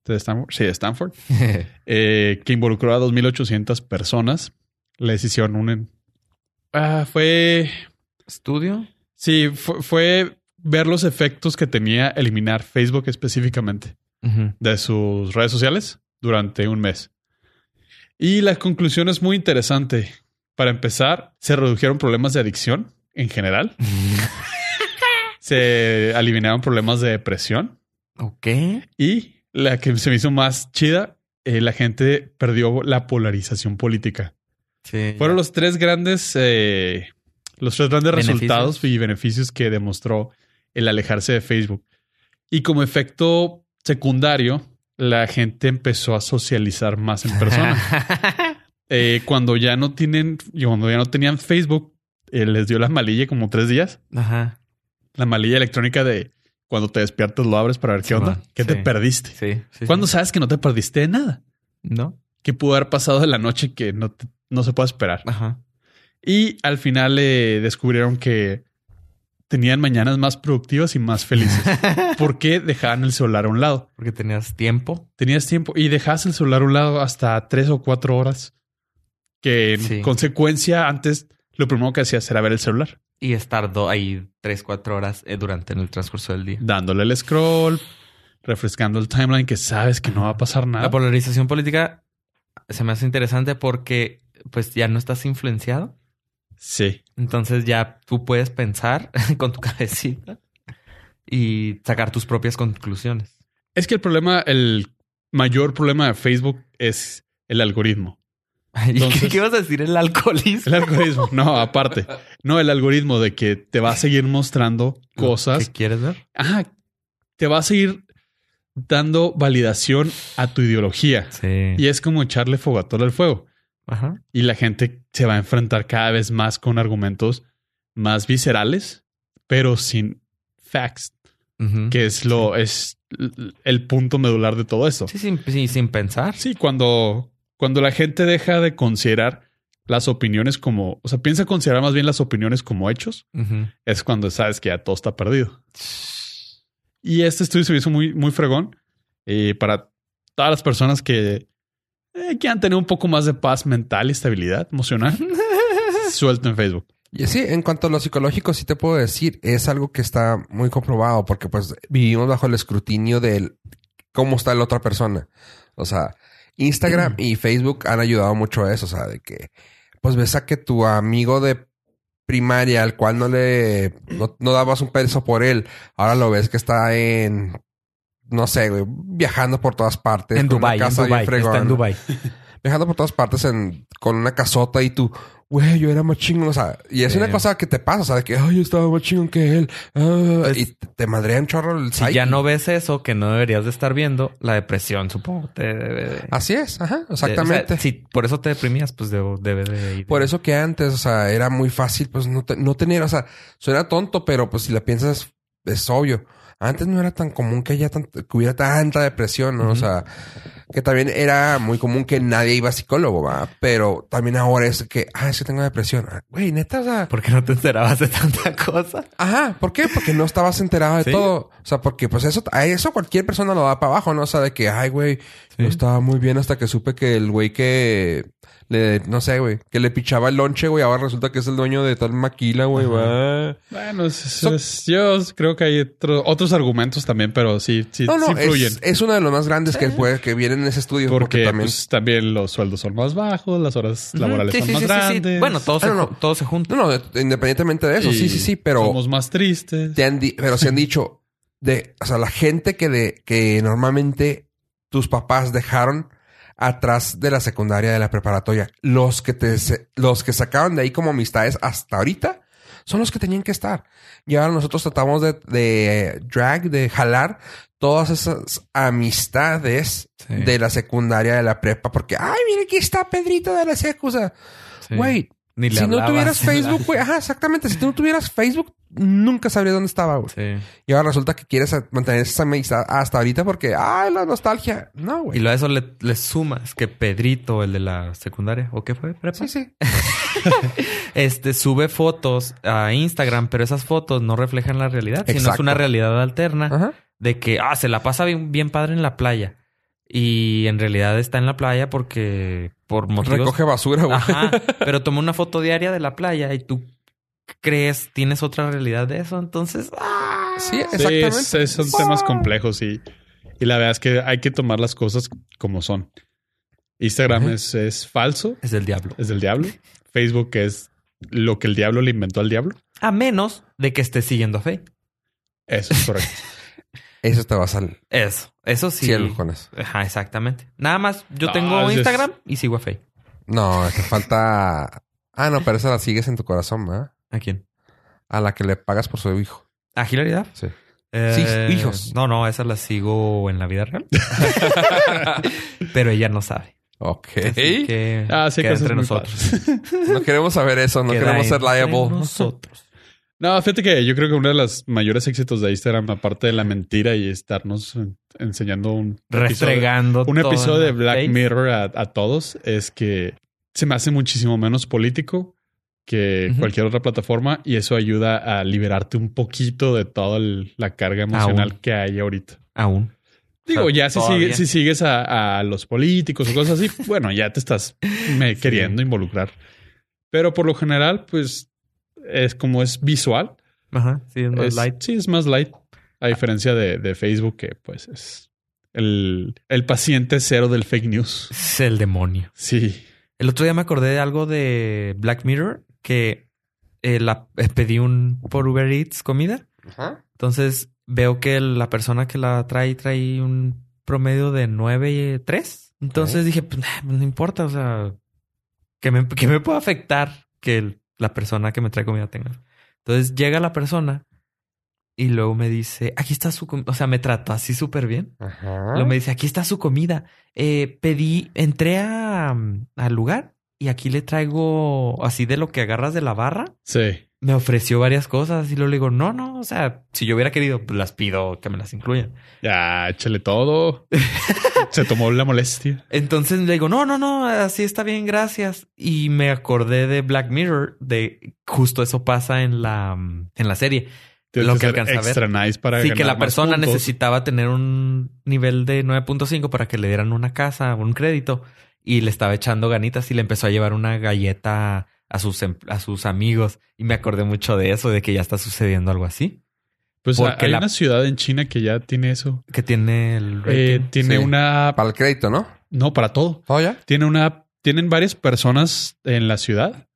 B: de Stanford, sí, de Stanford, eh, que involucró a 2.800 personas. Les hicieron un... en- Ah, fue...
C: estudio.
B: Sí, fue, fue ver los efectos que tenía eliminar Facebook específicamente
C: Ujú.
B: de sus redes sociales durante un mes. Y la conclusión es muy interesante. Para empezar, se redujeron problemas de adicción en general. se eliminaron problemas de depresión.
C: Ok.
B: Y la que se me hizo más chida, eh, la gente perdió la polarización política.
C: Sí.
B: Fueron los tres grandes, eh, los tres grandes
C: Beneficios.
B: resultados y beneficios que demostró el alejarse de Facebook. Y como efecto secundario, la gente empezó a socializar más en persona. Eh, cuando ya no tienen, y cuando ya no tenían Facebook, eh, les dio la malilla como tres días.
C: Ajá.
B: La malilla electrónica de cuando te despiertas lo abres para ver qué
C: Sí,
B: onda.
C: man.
B: ¿Qué te
C: Sí.
B: perdiste?
C: Sí. sí
B: ¿Cuándo
C: sí.
B: sabes que no te perdiste de nada?
C: ¿No?
B: ¿Qué pudo haber pasado de la noche que no, te- no se puede esperar?
C: Ajá.
B: Y al final eh, descubrieron que tenían mañanas más productivas y más felices. ¿Por qué dejaban el celular a un lado?
C: Porque tenías tiempo.
B: Tenías tiempo y dejabas el celular a un lado hasta tres o cuatro horas. Que en
C: Sí.
B: consecuencia, antes lo primero que hacías era ver el celular,
C: Y estar do- ahí tres, cuatro horas eh, durante el transcurso del día.
B: dándole el scroll, refrescando el timeline que sabes que no va a pasar nada.
C: La polarización política se me hace interesante porque pues ya no estás influenciado.
B: Sí.
C: Entonces ya tú puedes pensar con tu cabecita y sacar tus propias conclusiones.
B: Es que el problema, el mayor problema de Facebook es el algoritmo.
C: ¿Y qué,
B: Entonces-
C: qué ibas a decir? El alcoholismo.
B: El algoritmo, no, aparte. No, el algoritmo de que te va a seguir mostrando cosas.
C: ¿Qué quieres ver?
B: Ajá, te va a seguir dando validación a tu ideología.
C: Sí.
B: Y es como echarle fogatón al fuego.
C: Ajá.
B: Y la gente se va a enfrentar cada vez más con argumentos más viscerales, pero sin facts,
C: Ujú.
B: que es lo es l- el punto medular de todo esto.
C: Sí, sin, sí, sin pensar.
B: Sí, cuando, cuando la gente deja de considerar las opiniones como, o sea, piensa considerar más bien las opiniones como hechos,
C: Ujú.
B: es cuando sabes que ya todo está perdido. Y este estudio se me hizo muy, muy fregón eh, para todas las personas que eh, quieran tener un poco más de paz mental y estabilidad emocional. Suelto en Facebook.
A: Y sí, en cuanto a lo psicológico, sí te puedo decir, es algo que está muy comprobado porque pues vivimos bajo el escrutinio de cómo está la otra persona. O sea, Instagram y Facebook han ayudado mucho a eso, o sea, de que pues ves a que tu amigo de primaria, al cual no le no, no dabas un peso por él, ahora lo ves que está en no sé, güey, viajando por todas partes.
E: En
A: con una
E: Dubai, en
A: casa bien
E: Dubai, está
A: fregona
E: en Dubai.
A: viajando por todas partes en, con una casota y tú, güey, yo era más chingón. O sea, y es
C: Sí.
A: una cosa que te pasa, o sea, de que, ay, yo estaba más chingón que él. ah,
C: Pues,
A: y te madrean chorro el
C: Si
A: psyche.
C: ya no ves eso que no deberías de estar viendo, la depresión, supongo, te debe de-
A: Así es, ajá,
C: de-
A: Ah, exactamente.
C: o sea, si por eso te deprimías, pues debo- debe de ir.
A: Por eso que antes, o sea, era muy fácil, pues no, te- no tener, o sea, suena tonto, pero pues si la piensas, es obvio. Antes no era tan común que haya tant- que hubiera tanta depresión, ¿no? O
C: Ujú.
A: sea, que también era muy común que nadie iba a psicólogo, ¿va? Pero también ahora es que, ah, es que tengo depresión. Ah, Güey, neta, o sea,
C: ¿Por qué no te enterabas de tanta cosa?
A: Ajá, ¿por qué? Porque no estabas enterado de
C: Sí.
A: todo. O sea, porque pues eso, a eso cualquier persona lo da para abajo, ¿no? O sea, de que, ay, güey, yo estaba muy bien hasta que supe que el güey que le, no sé, güey, que le pichaba el lonche, güey, ahora resulta que es el dueño de tal maquila, güey, va.
B: Bueno, es- es-
A: So-
B: es- yo creo que hay otro- otros argumentos también, pero sí, sí,
A: No, no,
B: sí influyen.
A: es, es uno de los más grandes que, puede, que vienen en ese estudio.
B: porque
A: Porque, también...
B: pues, también los sueldos son más bajos, las horas laborales
C: Sí,
B: son
C: sí,
B: más
C: sí, sí, sí.
B: grandes.
C: Bueno, todos se,
A: Ah, no, no.
C: ju- todos se juntan.
A: No, no, independientemente de eso, sí,
B: y
A: sí, sí, pero...
B: Somos más tristes.
A: te han di- pero se han dicho de, o sea, la gente que de, que normalmente tus papás dejaron atrás de la secundaria de la preparatoria, los que te se- los que sacaron de ahí como amistades hasta ahorita son los que tenían que estar. Y ahora nosotros tratamos de, de drag, de jalar todas esas amistades
C: Sí.
A: de la secundaria de la prepa, porque ay, mira aquí está Pedrito de la secusa.
C: Sí.
A: Güey,
C: Ni le
A: si no
C: hablabas.
A: tuvieras Facebook, güey, ajá, exactamente. Si tú no tuvieras Facebook, nunca sabrías dónde estaba, güey.
C: Sí.
A: Y ahora resulta que quieres mantener esa amistad hasta ahorita porque, ay, la nostalgia. No,
C: Y
A: güey.
C: lo a eso le, le sumas que Pedrito, el de la secundaria, ¿o qué fue? Prepa.
A: Sí, sí.
C: Este sube fotos a Instagram, pero esas fotos no reflejan la realidad, sino es
A: Exacto.
C: una realidad alterna
A: Ajá.
C: de que ah, se la pasa bien, bien padre en la playa. Y en realidad está en la playa porque por motivos.
A: Recoge basura, güey.
C: Ajá, pero tomó una foto diaria de la playa y tú crees, tienes otra realidad de eso, entonces. ¡ah!
A: Sí,
B: Sí,
A: exactamente.
B: es- es- son temas complejos y, y la verdad es que hay que tomar las cosas como son. Instagram
A: Ajá.
B: es, es falso,
C: Es del diablo.
B: es del diablo. Facebook es lo que el diablo le inventó al diablo.
C: A menos de que estés siguiendo a Fe.
B: Eso es correcto.
A: Eso te vas al
C: Eso, eso sí.
A: cielo con eso.
C: Ajá, exactamente. Nada más, yo
B: No,
C: tengo
B: es-
C: Instagram y sigo a Fe.
A: No, te falta. Ah, no, pero esa la sigues en tu corazón, ¿verdad?
C: ¿A quién?
A: A la que le pagas por su hijo.
C: ¿A Hilary Duff?
A: Sí.
C: Eh,
A: Sí, hijos.
C: No, no, esa la sigo en la vida real. Pero ella no sabe.
A: Ok.
C: Así que
B: Ah, sí,
C: queda
B: cosas
C: entre
B: muy
C: nosotros.
B: padres.
A: No queremos saber eso. No
C: Queda
A: queremos ser
C: entre
A: liable.
C: Nosotros.
B: No, fíjate que yo creo que uno de los mayores éxitos de Instagram, aparte de la mentira y estarnos en- enseñando un episodio,
C: Restregando.
B: un
C: todo
B: episodio
C: en
B: de
C: la
B: Black
C: face.
B: Mirror a, a todos, es que se me hace muchísimo menos político que
C: Ujú.
B: cualquier otra plataforma y eso ayuda a liberarte un poquito de toda el- la carga emocional que hay ahorita.
C: Aún.
B: Digo,
C: O sea,
B: ya si,
C: todavía.
B: sigue- si sigues a, a los políticos o cosas así, bueno, ya te estás me queriendo involucrar. Pero por lo general, pues es como es visual,
C: Ajá. Sí, es más
B: es-
C: light. Ah.
B: Sí, es más light. A diferencia de, de Facebook, que pues es el, el paciente cero del fake news.
C: Es el demonio.
B: Sí.
C: El otro día me acordé de algo de Black Mirror que eh, la, eh, pedí un por Uber Eats comida.
A: Ajá.
C: Entonces veo que la persona que la trae trae pues, un promedio de 9 y 3. Entonces dije, pues nah, no importa, o sea, que me, que me puede afectar que el- la persona que me trae comida tenga. Entonces llega la persona y luego me dice, aquí está su comida. O sea, me trató así súper bien.
A: Ajá.
C: Luego me dice, aquí está su comida. Eh, pedí, entré a- mm, al lugar y aquí le traigo así de lo que agarras de la barra.
B: Sí.
C: Me ofreció varias cosas y luego le digo, no, no, o sea, si yo hubiera querido, pues las pido que me las incluyan.
B: Ya, échale todo. Se tomó la molestia.
C: Entonces le digo, no, no, no, así está bien, gracias. Y me acordé de Black Mirror, de justo eso pasa en la, mm, en la serie.
B: Tienes
C: Lo que
B: ser
C: alcanza a ver.
B: extra nice para
C: sí, que
B: ganar
C: la
B: más
C: persona
B: puntos.
C: necesitaba tener un nivel de 9.5 para que le dieran una casa, un crédito, y le estaba echando ganitas y le empezó a llevar una galleta a sus, em- a sus amigos. Y me acordé mucho de eso, de que ya está sucediendo algo así.
B: Pues
C: porque
B: hay
C: la-
B: una ciudad en China que ya tiene eso.
C: Que tiene el
B: Eh,
C: rating.
B: tiene
A: Sí.
B: una.
A: Para el crédito, ¿no?
B: No, para todo.
A: ¿Todo ya?
B: Tiene una. Tienen varias personas en la ciudad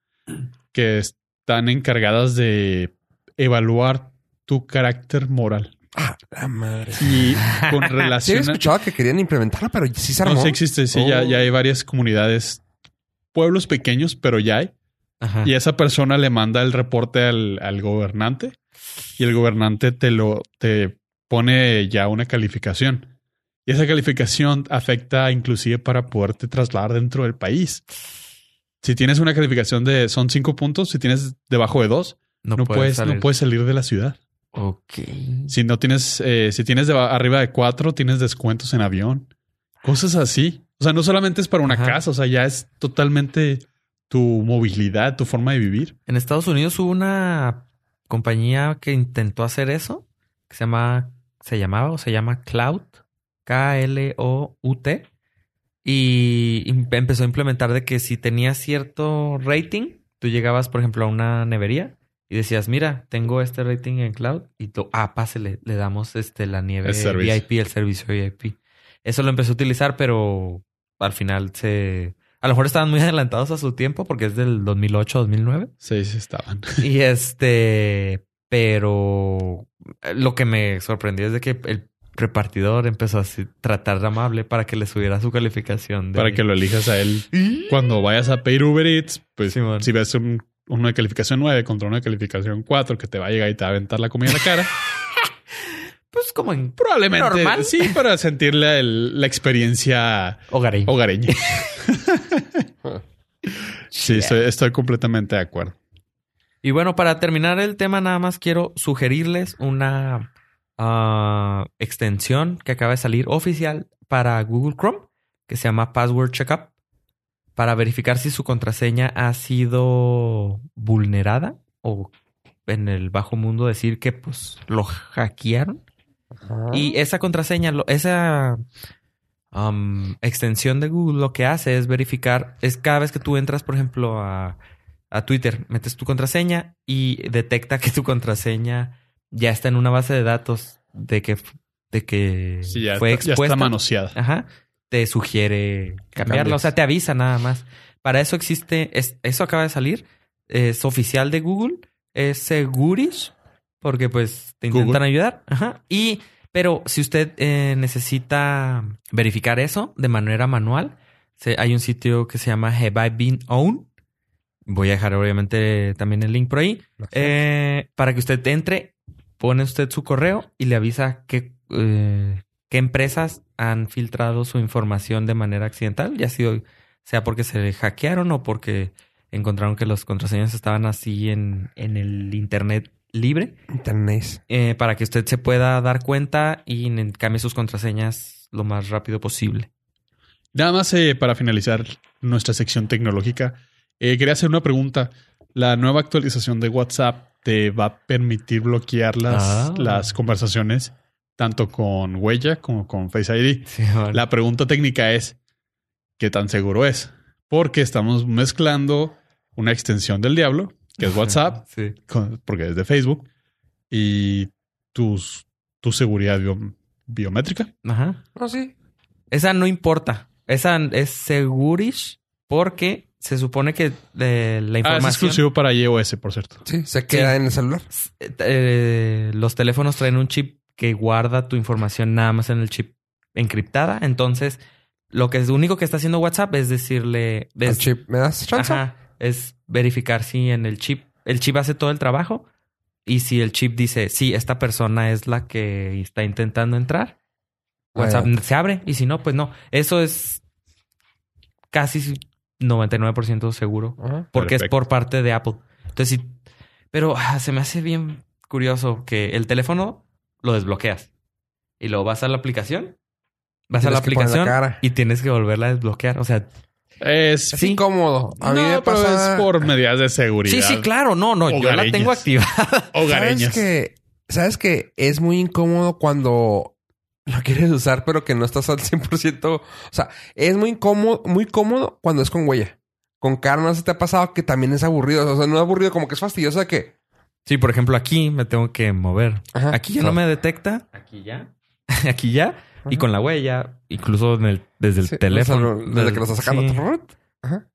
B: que están encargadas de evaluar tu carácter moral.
A: Ah, la madre.
B: Y con
A: Sí, había
B: relación a-
A: escuchado que querían implementarla, pero sí se armó.
B: No, sí existe, sí, ya,
A: Oh.
B: ya hay varias comunidades, pueblos pequeños, pero ya hay.
C: Ajá.
B: Y esa persona le manda el reporte al, al gobernante y el gobernante te lo te pone ya una calificación. Y esa calificación afecta inclusive para poderte trasladar dentro del país. Si tienes una calificación de son cinco puntos, si tienes debajo de dos, no, puedes,
C: salir.
B: no puedes salir de la ciudad.
C: Ok.
B: Si no tienes, eh, si tienes deba- arriba de cuatro, tienes descuentos en avión. Cosas así. O sea, no solamente es para una
C: Ajá.
B: casa, o sea, ya es totalmente tu movilidad, tu forma de vivir.
C: En Estados Unidos hubo una compañía que intentó hacer eso, que se llama, se llamaba o se llama Cloud, K-L-O-U-T, y im- empezó a implementar de que si tenías cierto rating, tú llegabas, por ejemplo, a una nevería y decías, mira, tengo este rating en Cloud, y tú, ah, pásele, le damos este, la nieve
B: El servicio.
C: VIP, el servicio VIP. Eso lo empezó a utilizar, pero al final se... A lo mejor estaban muy adelantados a su tiempo porque es del 2008, 2009.
B: Sí, sí estaban.
C: Y este, pero eh, lo que me sorprendió es de que el repartidor empezó a así- tratar de amable para que le subiera su calificación. de-
B: Para que lo elijas a él. Cuando vayas a pedir Uber Eats, pues
C: Simón.
B: si ves un- uno de calificación 9 contra uno de calificación 4 que te va a llegar y te va a aventar la comida en la cara,
C: Pues como en
B: probablemente
C: ¿Normal?
B: sí, para sentir la, el- la experiencia
C: hogareño.
B: hogareña. sí, estoy, estoy completamente de acuerdo.
C: Y bueno, para terminar el tema, nada más quiero sugerirles una ah, extensión que acaba de salir oficial para Google Chrome, que se llama Password Checkup, para verificar si su contraseña ha sido vulnerada o en el bajo mundo decir que pues lo hackearon.
A: Ajá.
C: Y esa contraseña, lo- esa am, extensión de Google lo que hace es verificar, es cada vez que tú entras, por ejemplo, a, a Twitter, metes tu contraseña y detecta que tu contraseña ya está en una base de datos de que, de que
B: Sí, ya,
C: fue
B: está, ya está
C: expuesta.
B: manoseada.
C: Ajá. Te sugiere cambiarla. O sea, te avisa nada más. Para eso existe, es- eso acaba de salir. Es oficial de Google. Es Segurish. Porque pues te
B: Google.
C: intentan ayudar. Ajá. Y, pero si usted eh, necesita verificar eso de manera manual, se- hay un sitio que se llama Have I Been Owned. Voy a dejar obviamente también el link por ahí. Eh, para que usted entre, pone usted su correo y le avisa que, eh, qué empresas han filtrado su información de manera accidental, ya sido, sea porque se hackearon o porque encontraron que los contraseñas estaban así en, en el Internet libre,
A: Internet.
C: eh, para que usted se pueda dar cuenta y en- cambie sus contraseñas lo más rápido posible.
B: Nada más eh, para finalizar nuestra sección tecnológica, eh, quería hacer una pregunta. ¿La nueva actualización de WhatsApp te va a permitir bloquear las,
C: Ah.
B: las conversaciones tanto con huella como con Face ID? La pregunta técnica es, ¿qué tan seguro es? Porque estamos mezclando una extensión del diablo, que es WhatsApp,
C: Sí.
B: con- porque es de Facebook, y tus, tu seguridad bio- biométrica. Ah,
C: Ajá.
A: No, sí.
C: Esa no importa. Esa es Segurish porque se supone que eh, la
B: Ah, es
C: información...
B: exclusivo para iOS, por cierto.
A: Sí, se queda en el celular.
C: eh, los teléfonos traen un chip que guarda tu información nada más en el chip encriptada. Entonces, Lo que es lo único que está haciendo WhatsApp es decirle.
A: Al
C: es-
A: chip. ¿Me das chance?
C: Ajá. Es verificar si en el chip, el chip hace todo el trabajo y si el chip dice, sí, esta persona es la que está intentando entrar, WhatsApp
A: Bueno.
C: se abre y si no, pues no. Eso es casi 99% seguro
A: Ajá.
C: porque
B: Perfecto.
C: es por parte de Apple. Entonces, sí, pero ah, se me hace bien curioso que el teléfono lo desbloqueas y luego vas a la aplicación, vas a la
A: Tienes que poner la
C: aplicación
A: cara.
C: y tienes que volverla a desbloquear. O sea,
B: Es.
A: Es incómodo. A mí
B: no,
A: me
B: pero
A: pasa...
B: es por medidas de seguridad.
C: sí, sí, claro, no, no, yo la
B: Hogareñas.
C: tengo activa.
A: ¿Sabes
B: Hogareñas.
A: que, ¿Sabes que es muy incómodo cuando lo quieres usar, pero que no estás al 100%? O sea, es muy incómodo, muy cómodo cuando es con huella. Con cara, no sé si te ha pasado que también es aburrido. O sea, no es aburrido, como que es fastidioso de que...
C: Sí, por ejemplo, aquí me tengo que mover.
A: Ajá.
C: Aquí ya no me detecta. Aquí ya. aquí ya. Y
A: Ajá.
C: con la huella, incluso en el- desde el
A: Sí,
C: teléfono.
A: o sea, desde que lo estás sacando.
C: Sí,
A: Trrrt.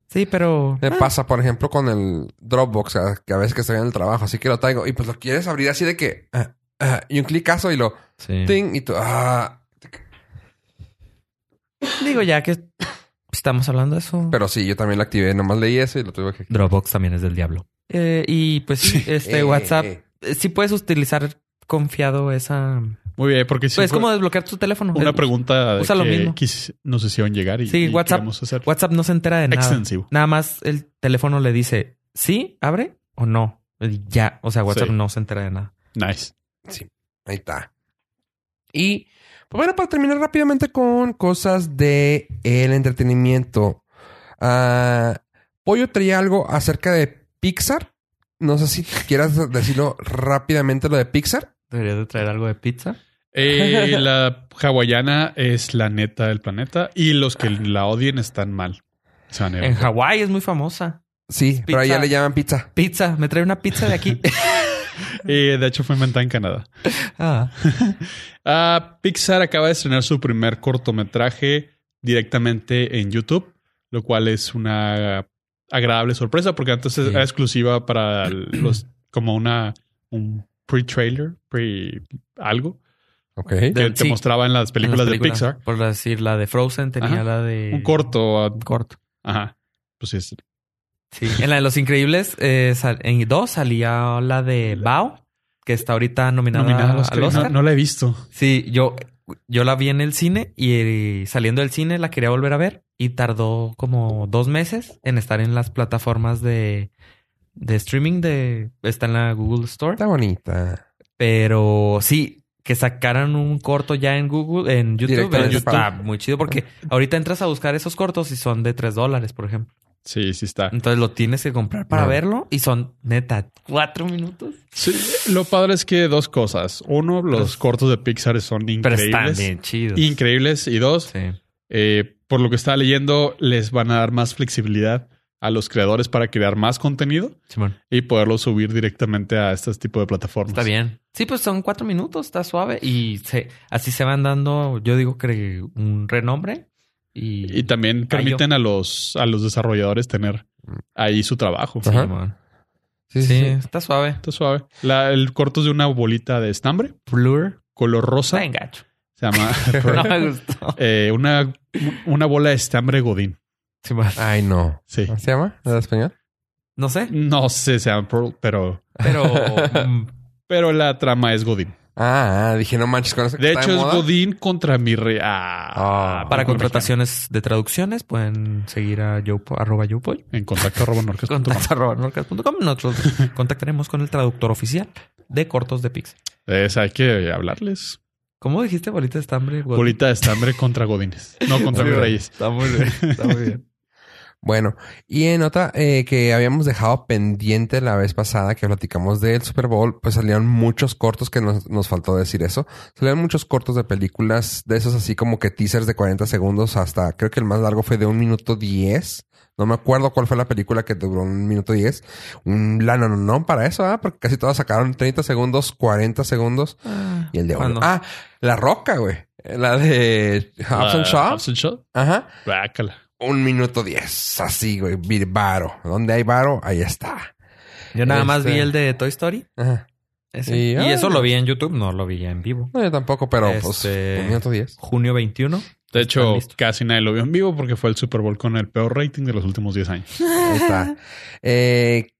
C: Sí, pero.
A: Me pasa, por ejemplo, con el Dropbox, a- que a veces que estoy en el trabajo, así que lo traigo. Y pues lo quieres abrir así de que... ah, ah, y un clicazo y lo...
C: Sí.
A: ting, y tú... Ah.
C: Digo, ya que estamos hablando de eso.
A: Pero sí, yo también lo activé. Nomás leí eso y lo tuve que...
C: Dropbox también es del diablo. Eh, y pues sí, este
A: Eh,
C: WhatsApp.
A: eh.
C: eh, Sí puedes utilizar confiado esa.
B: Muy bien, porque sí.
C: pues es
B: fue
C: como desbloquear tu teléfono.
B: una
C: Eh,
B: pregunta de
C: usa lo
B: que
C: mismo.
B: quis- nos hicieron llegar y,
C: Sí,
B: y
C: WhatsApp-
B: queremos hacer
C: WhatsApp no se entera de nada.
B: extensivo.
C: Nada más el teléfono le dice, sí, abre o no. Y Ya, o sea, WhatsApp
B: Sí.
C: no se entera de nada.
B: Nice.
A: Ahí está. Y pues bueno, para terminar rápidamente con cosas de el entretenimiento. Ah, Pollo traía algo acerca de Pixar. No sé si quieras decirlo rápidamente lo de Pixar.
C: Deberías de traer algo de pizza.
B: Eh, la hawaiana es la neta del planeta y los que la odien están mal. Se van a ir.
C: En Hawái es muy famosa.
A: Sí, pero allá
C: pizza.
A: le llaman pizza.
C: Pizza, me trae una pizza de aquí.
B: Eh, de hecho, fue inventada en Canadá.
C: Ah,
B: Ah, Pixar acaba de estrenar su primer cortometraje directamente en YouTube, lo cual es una agradable sorpresa porque antes
C: Sí.
B: era exclusiva para los como una un pre-trailer, pre algo
A: Ok.
C: De-
B: que te
C: sí.
B: mostraba en las películas,
C: en las películas,
B: de Pixar,
C: Por decir, la de Frozen tenía
B: Ajá.
C: la de...
B: un corto, ah,
C: Un corto.
B: ajá. Pues es
C: Sí. En la de Los Increíbles, eh, sal- en dos salía la de Bao, que está ahorita nominada,
B: nominada a los
C: al
B: que-
C: Oscar.
B: no, no la he visto.
C: Sí, yo, yo la vi en el cine y eh, saliendo del cine la quería volver a ver y tardó como dos meses en estar en las plataformas de, de streaming de está en la Google Store.
A: Está bonita.
C: Pero sí, que sacaran un corto ya en Google, en YouTube, eh,
A: Directamente
C: está
A: para-
C: muy chido porque ahorita entras a buscar esos cortos y son de tres dólares, por ejemplo.
B: Sí, sí está.
C: Entonces lo tienes que comprar para
A: No.
C: verlo y son neta cuatro minutos.
B: Sí, lo padre es que dos cosas. Uno, los
C: Pero-
B: cortos de Pixar son
C: Pero están
B: increíbles.
C: bien chidos.
B: Increíbles. Y dos,
C: Sí.
B: Eh, por lo que estaba leyendo, les van a dar más flexibilidad a los creadores para crear más contenido
C: Simón.
B: y poderlo subir directamente a este tipo de plataformas.
C: Está bien. Sí, pues son cuatro minutos, está suave. Y se, así se van dando, yo digo que un renombre. Y,
B: Y también
C: Cayó.
B: permiten a los, a los desarrolladores tener ahí su trabajo.
A: Mm. Ajá.
C: Simón.
A: Sí,
C: Sí,
A: sí. sí.
C: está suave.
B: Está suave. La- el corto es de una bolita de estambre,
C: Blur.
B: color rosa.
C: Está en gacho.
B: Se llama
C: No me gustó.
B: eh, una, una bola de estambre Godín.
C: Simón.
A: Ay, no.
B: Sí.
A: ¿Cómo se llama? ¿En español?
C: Ah, No sé,
B: No sé, se llama Pearl, pero,
C: pero mm,
B: pero la trama es Godín.
A: Ah, ah, dije, no manches con eso. que
B: De
A: está
B: hecho, es
A: moda.
B: Godín contra mi rey. Ah,
A: Ah.
C: para
B: mexicano.
C: contrataciones de traducciones pueden seguir a yo, arroba yopoy.
B: En contacto arroba norcas punto com.
C: Contacto arroba norcas.com. Nosotros contactaremos con el traductor oficial de cortos de Pixar.
B: Es, hay que hablarles.
C: ¿Cómo dijiste, bolita de estambre? güey?
B: Bolita de estambre contra Godines. No contra
C: Muy
B: mis
C: bien.
B: reyes.
C: Está muy bien. Está muy bien.
A: Bueno, y en otra eh, que habíamos dejado pendiente la vez pasada que platicamos del Super Bowl, pues salieron muchos cortos que nos, nos faltó decir eso. Salieron muchos cortos de películas, de esos así como que teasers de 40 segundos hasta, creo que el más largo fue de un minuto 10. No me acuerdo cuál fue la película que duró un minuto 10. Un la no, no, no para eso, ¿ah? porque casi todas sacaron 30 segundos, 40 segundos y el de
C: Ah,
A: oro.
C: no.
A: Ah, La Roca, güey. La de Hobbs and
B: Ah,
A: Shaw.
B: Hobbs and Shaw.
A: Ajá
B: Bácala.
A: un minuto diez. Así, güey. vir- Varo. Donde hay varo, ahí está.
C: Yo nada más
A: Este-
C: vi el de Toy Story.
A: Ajá.
C: Ese.
A: Y-
C: Y,
A: ah.
C: eso lo vi en YouTube, no lo vi en vivo.
A: No, yo tampoco, pero pues
C: Este-
A: un minuto diez.
C: Junio 21
B: De hecho,
C: listos.
B: casi nadie lo vio en vivo porque fue el Super Bowl con el peor rating de los últimos 10 años.
A: Ahí está. Eh,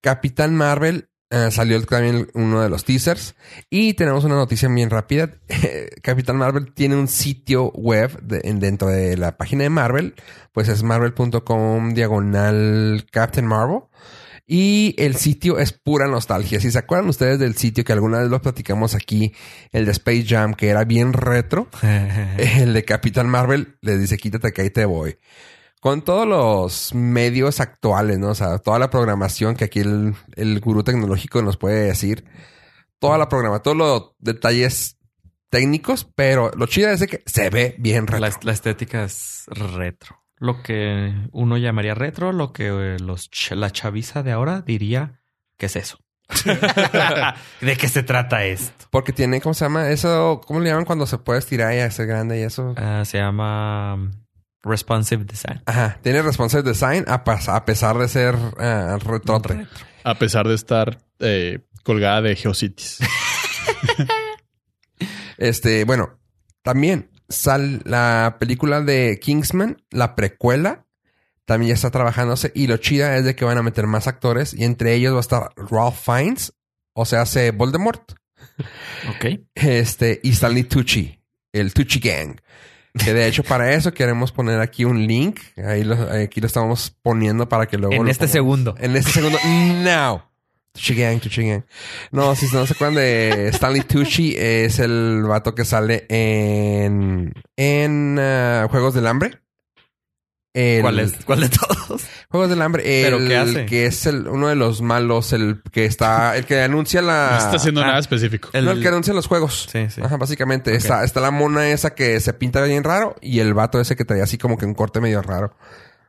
A: Capitán Marvel eh, salió también uno de los teasers. Y tenemos una noticia bien rápida. Capitán Marvel tiene un sitio web de- en- dentro de la página de Marvel. Pues es marvel.com diagonal Captain Marvel. Y el sitio es pura nostalgia. Si se acuerdan ustedes del sitio que alguna vez lo platicamos aquí, el de Space Jam, que era bien retro.
C: Eh,
A: El de Capitán Marvel le dice, quítate que ahí te voy. Con todos los medios actuales, ¿no? O sea, toda la programación que aquí el, el gurú tecnológico nos puede decir. Toda la programación, todos los detalles técnicos, pero lo chido es de que se ve bien retro.
C: La, est- la estética es retro. Lo que uno llamaría retro, lo que eh, los ch- la chaviza de ahora diría que es eso. ¿De qué se trata esto?
A: Porque tiene, ¿cómo se llama? Eso, ¿cómo le llaman cuando se puede estirar y hacer grande y eso?
C: Ah, se llama um, responsive design.
A: Ajá, tiene responsive design a, pas- a pesar de ser ah, retrote.
C: Retro.
B: A pesar de estar eh, colgada de Geocities.
A: Este, bueno, también sal la película de Kingsman, la precuela, también ya está trabajándose. Y lo chida es de que van a meter más actores. Y entre ellos va a estar Ralph Fiennes, o sea, hace Voldemort.
C: Ok.
A: Este, y Stanley Tucci, el Tucci Gang. Que de hecho, para eso queremos poner aquí un link. Ahí lo- aquí lo estamos poniendo para que luego.
C: En
A: lo
C: este
A: pongamos.
C: segundo.
A: En este segundo, no. Tucci Gang, Tucci Gang. No, si no se acuerdan de Stanley Tucci, es el vato que sale en, en ah, Juegos del Hambre. El-
C: ¿Cuál es? ¿Cuál de todos?
A: Juegos del Hambre. El,
C: ¿Pero qué hace?
A: que es el, uno de los malos, el que está, el que anuncia la.
B: no está haciendo
C: ah.
B: nada específico.
A: no, el que anuncia los juegos.
C: Sí, sí.
A: Ajá, básicamente.
C: Ok.
A: Está, está la mona esa que se pinta bien raro y el vato ese que traía así como que un corte medio raro.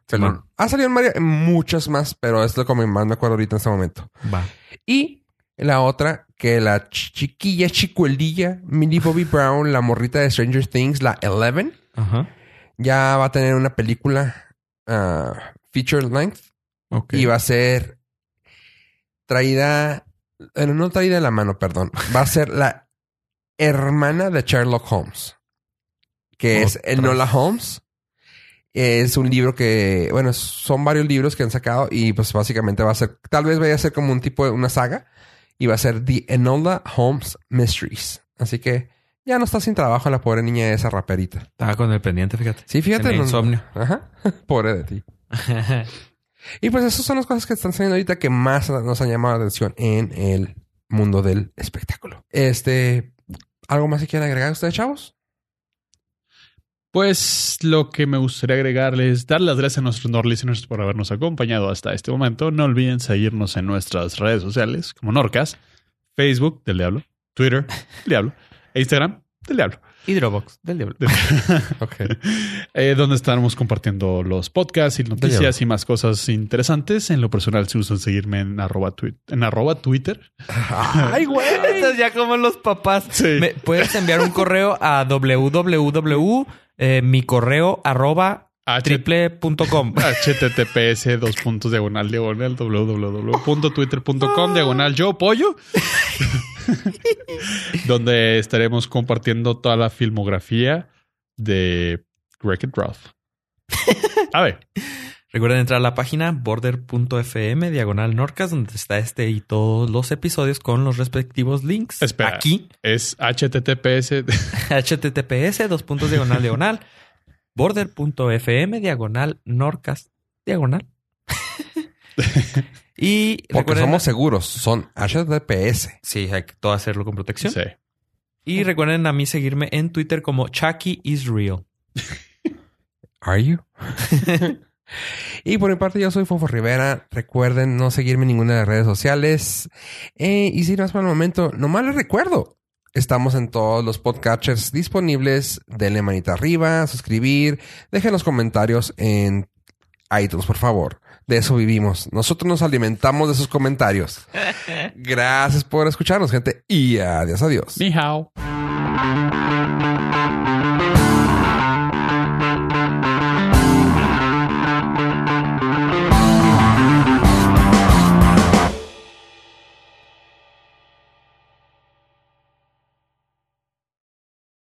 A: Pero
C: Simón.
A: ha salido en Mario en muchas más, pero es lo que me- más me acuerdo ahorita en este momento.
C: Va.
A: Y la otra, que la chiquilla chicuelilla, Millie Bobby Brown, la morrita de Stranger Things, la Eleven,
C: Ajá.
A: ya va a tener una película ah, feature length
C: Ok.
A: y va a ser traída, bueno, no traída de la mano, perdón, va a ser la hermana de Sherlock Holmes, que es
C: Otra.
A: el Nola Holmes. Es un libro que, bueno, son varios libros que han sacado y pues básicamente va a ser, tal vez vaya a ser como un tipo de una saga y va a ser The Enola Holmes Mysteries. Así que ya no está sin trabajo la pobre niña esa raperita.
C: Estaba con el pendiente, fíjate.
A: Sí, fíjate.
C: Tenía
A: no-
C: insomnio.
A: Ajá. Pobre de ti. Y pues esas son las cosas que están saliendo ahorita que más nos han llamado la atención en el mundo del espectáculo. Este, ¿algo más que quieran agregar ustedes, chavos?
B: Pues lo que me gustaría agregarles, dar las gracias a nuestros Nord listeners por habernos acompañado hasta este momento. No olviden seguirnos en nuestras redes sociales como Norcas, Facebook del Diablo, Twitter del Diablo, e Instagram del Diablo.
C: Hidrobox del diablo.
A: Ok.
B: Eh, donde estaremos compartiendo los podcasts y noticias y más cosas interesantes. En lo personal, si usan seguirme en arroba, twi- en arroba Twitter.
A: ¡Ay, güey!
C: Estás ya como los papás.
B: Sí.
C: Me- puedes enviar un correo a www eh, mi correo arroba triple punto com.
B: https dos puntos diagonal diagonal www.twitter.com diagonal yo pollo donde estaremos compartiendo toda la filmografía de Wreck It Ralph a ver
C: Recuerden entrar a la página border.fm diagonal norcas donde está este y todos los episodios con los respectivos links.
B: Espera.
C: Aquí
B: es https
C: https dos puntos diagonal diagonal border.fm diagonal norcas diagonal. y
A: Porque
C: recuerden-
A: somos seguros, son HTTPS.
C: Sí, hay que todo hacerlo con protección.
B: sí.
C: Y recuerden a mí seguirme en Twitter como Chucky is real.
A: ¿Are you? y por mi parte, yo soy Fofo Rivera. Recuerden no seguirme en ninguna de las redes sociales. Eh, y sin más por el momento, nomás les recuerdo. Estamos en todos los podcatchers disponibles. Denle manita arriba, suscribir. Dejen los comentarios en iTunes, por favor. De eso vivimos. Nosotros nos alimentamos de sus comentarios. Gracias por escucharnos, gente. Y adiós, adiós.
B: ni hao